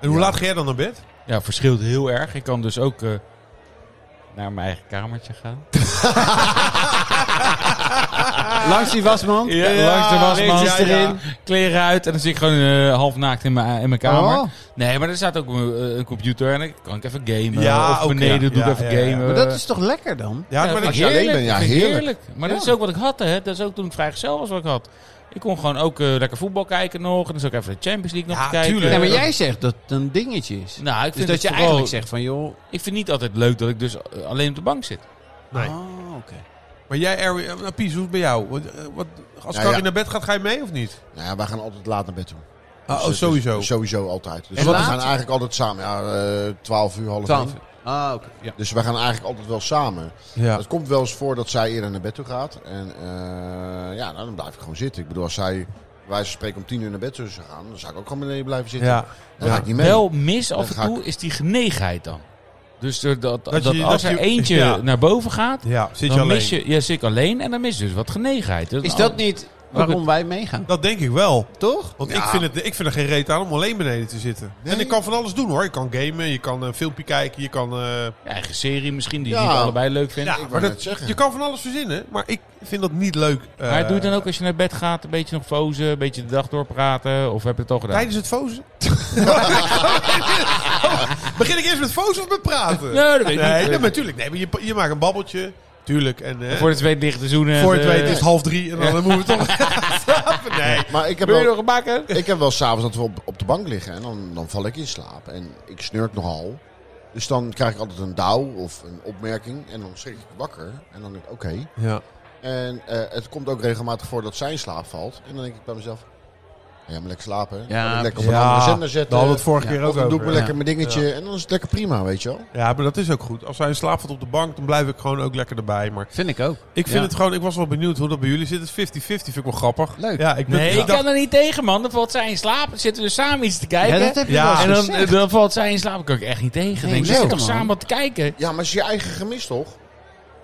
S2: En hoe laat ga jij dan naar bed?
S4: Ja, verschilt heel erg. Ik kan dus ook eh, naar mijn eigen kamertje gaan.
S5: Langs die wasman.
S4: Ja, langs de wasmand
S5: links erin.
S4: Kleren uit en dan zit ik gewoon eh, half naakt in mijn, in mijn kamer.
S5: Oh.
S4: Nee, maar er staat ook een, eh, een computer en dan kan ik even gamen.
S2: Ja,
S4: of
S2: oké.
S4: beneden doe ik
S2: Ja,
S4: even
S2: ja, ja.
S4: gamen.
S5: Maar dat is toch lekker dan?
S2: Ja,
S4: Ja,
S2: maar
S4: vind
S2: ik,
S4: ik
S1: alleen
S4: heerlijk.
S1: bent, ja,
S4: Vind ik
S1: heerlijk.
S4: Maar dat is ook wat ik had, hè. Dat is ook toen ik vrijgezel was wat ik had. Ik kon gewoon ook eh, lekker voetbal kijken nog. En dan zou ik even de Champions League nog
S2: Ja,
S4: te kijken.
S2: tuurlijk.
S5: Nee, maar jij zegt dat het een dingetje is.
S4: Nou, ik
S5: dus
S4: vind
S5: dat
S4: het
S5: je
S4: vooral-
S5: eigenlijk zegt van, joh...
S4: Ik vind niet altijd leuk dat ik dus eh, alleen op de bank zit.
S2: Nee.
S5: Oh, oké.
S2: Maar jij, Erwin, eh, nou, Pies, hoe is het bij jou? Wat, eh, wat, als
S1: Ja,
S2: Karin
S1: ja.
S2: naar bed gaat, ga je mee of niet?
S1: Nou ja, wij gaan altijd laat naar bed toe.
S2: Ah,
S1: Dus
S2: oh,
S1: het is
S2: sowieso.
S1: Sowieso altijd. Dus
S5: En
S1: we
S5: laat?
S1: gaan eigenlijk altijd samen. Ja, eh 12 uur, half
S5: 12
S1: één.
S5: Ah, oké. Ja.
S1: Dus wij gaan eigenlijk altijd wel samen.
S2: Ja.
S1: Het komt wel eens voor dat zij eerder naar bed toe gaat. En eh, ja, nou, dan blijf ik gewoon zitten. Ik bedoel, als zij bij wijze van spreken om 10 uur naar bed zou gaan, dan zou ik ook gewoon beneden blijven zitten.
S2: Ja.
S1: Dan ga ik niet mee.
S4: Wel mis af
S1: Dan
S4: en
S1: ga
S4: toe is die geneigheid dan. Dus er- dat, dat,
S2: je-
S4: als
S2: dat
S4: er
S2: je-
S4: eentje
S2: ja.
S4: naar boven gaat,
S2: Ja, zit je
S4: dan
S2: alleen?
S4: mis je... Ja, zit ik alleen en dan mis je dus wat Oh. geneigheid.
S5: Is dat niet waarom wij meegaan?
S2: Dat denk ik wel.
S5: Nou, Toch?
S2: Want
S1: Ja.
S2: ik, vind het, ik vind er geen reet aan om alleen beneden te zitten.
S1: Nee.
S2: En ik kan van alles doen hoor. Je kan gamen, je kan een filmpje kijken, je kan... eh,
S4: Je eigen serie misschien, die
S1: Ja.
S4: je niet allebei leuk vindt.
S2: ja,
S1: wou
S2: maar
S1: net
S2: dat,
S1: zeggen.
S2: je kan van alles verzinnen, maar ik vind dat niet leuk. eh,
S4: maar doe je dan ook als je naar bed gaat, een beetje nog fozen, een beetje de dag doorpraten? Of heb je het al gedaan?
S2: Tijdens het fozen? Begin ik eerst met fozen of met praten?
S4: Nee, dat weet ik
S2: Nee,
S4: niet.
S2: nee, maar tuurlijk. Nee, maar je, je maakt een babbeltje. Tuurlijk. En, eh,
S4: Voor de twee dichte zoenen.
S2: voor
S4: de-
S2: het weten is het half drie en dan moeten we toch slapen. Nee.
S1: Maar ik heb
S4: Wil je
S1: wel,
S4: nog een bakken?
S1: ik heb wel s'avonds dat we op, op de bank liggen en dan, dan val ik in slaap. En ik snurk nogal. Dus dan krijg ik altijd een douw of een opmerking. En dan schrik ik wakker. En dan denk ik, oké.
S2: Ja.
S1: En eh, het komt ook regelmatig voor dat zij in slaap valt. En dan denk ik bij mezelf, ja, maar lekker slapen. hè. Dan
S5: Ja,
S1: kan ik lekker op een andere
S2: Ja,
S1: zender
S2: daar
S1: zetten.
S2: hadden we het vorige keer
S1: Of
S2: ook
S1: dan doe ik
S2: over.
S1: me
S2: Ja.
S1: lekker mijn dingetje en dan is het lekker prima, weet je wel.
S2: Ja, maar dat is ook goed. Als hij in slaap valt op de bank, dan blijf ik gewoon ook lekker erbij. Maar
S5: Vind ik ook.
S2: ik vind
S5: Ja.
S2: het gewoon, ik was wel benieuwd hoe dat bij jullie zit. Het 50-50 vind ik wel grappig.
S5: Leuk.
S2: Ja, ik ben,
S4: Nee,
S2: ik
S4: ik
S2: dacht-
S4: kan er niet tegen, man. Dan valt zij in slaap. Dan zitten we samen iets te
S5: Ja,
S4: kijken.
S5: dat heb je
S2: Ja,
S5: wel eens
S4: en dan,
S5: gezegd.
S4: dan valt zij in slaap. Dan kan ik echt niet tegen.
S5: Nee,
S4: Nee,
S5: zo,
S4: zit toch
S5: man.
S4: samen wat te kijken?
S1: Ja, maar het is je eigen gemis toch?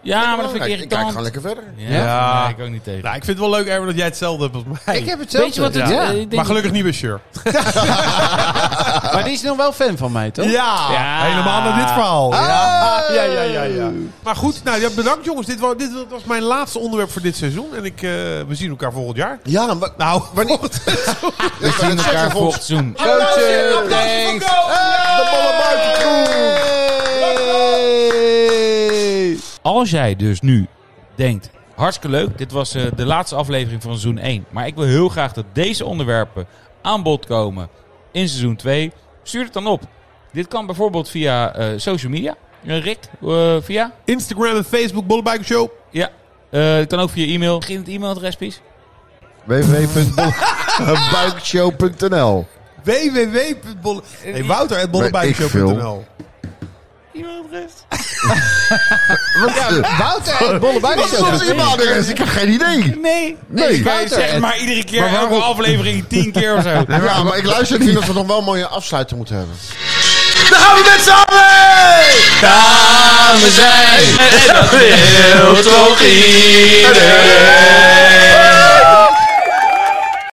S4: Ja, maar dat vind ik
S1: Belangrijk. kijk
S4: irritant.
S1: gewoon lekker verder.
S4: Ja,
S2: Ja.
S4: Nee, ik ook niet tegen.
S2: nou, ik vind het wel leuk, Erwin, dat jij hetzelfde hebt als mij.
S5: Ik heb het zelf.
S4: Weet je wat het...
S5: ja.
S4: eh, ik denk-
S2: maar gelukkig niet bij Sure.
S5: Maar die is nog wel fan van mij, toch?
S2: Ja,
S4: Ja.
S2: helemaal naar dit verhaal.
S5: Ah.
S2: Ja, ja, ja, ja. Maar goed, nou, ja, bedankt jongens. Dit was, dit was mijn laatste onderwerp voor dit seizoen. En ik, eh, we zien elkaar volgend jaar.
S1: Ja, maar...
S2: Nou,
S1: Wanneer...
S4: We zien elkaar volgend seizoen.
S5: Coachen, thanks.
S1: De ballen buiten Kroen.
S4: Als jij dus nu denkt, hartstikke leuk, dit was eh, de laatste aflevering van seizoen 1. Maar ik wil heel graag dat deze onderwerpen aan bod komen in seizoen 2. Stuur het dan op. Dit kan bijvoorbeeld via eh, social media. Eh, Rick, eh, via?
S2: Instagram en Facebook, Bollebuiken Show.
S4: Ja. Eh, het kan ook via e-mail. Begin het e-mailadres, Pies.
S1: www.buikshow.nl
S2: www.bolle... Hey, Wouter, at
S1: Weet ik
S2: bollebuikshow.nl.
S4: E-mailadres?
S1: eh,
S5: Wouter, Bollebuik is ook.
S1: e-mailadres? dus Ik heb geen idee.
S4: Nee.
S1: Nee.
S4: Wij zeggen maar iedere keer,
S1: Maar waarom?
S4: elke aflevering tien keer of zo.
S1: Ja, maar ik luister niet dat we nog wel een mooie afsluiter moeten hebben.
S3: Daar gaan we met z'n allen!
S7: Samen zijn. En dat wil toch iedereen.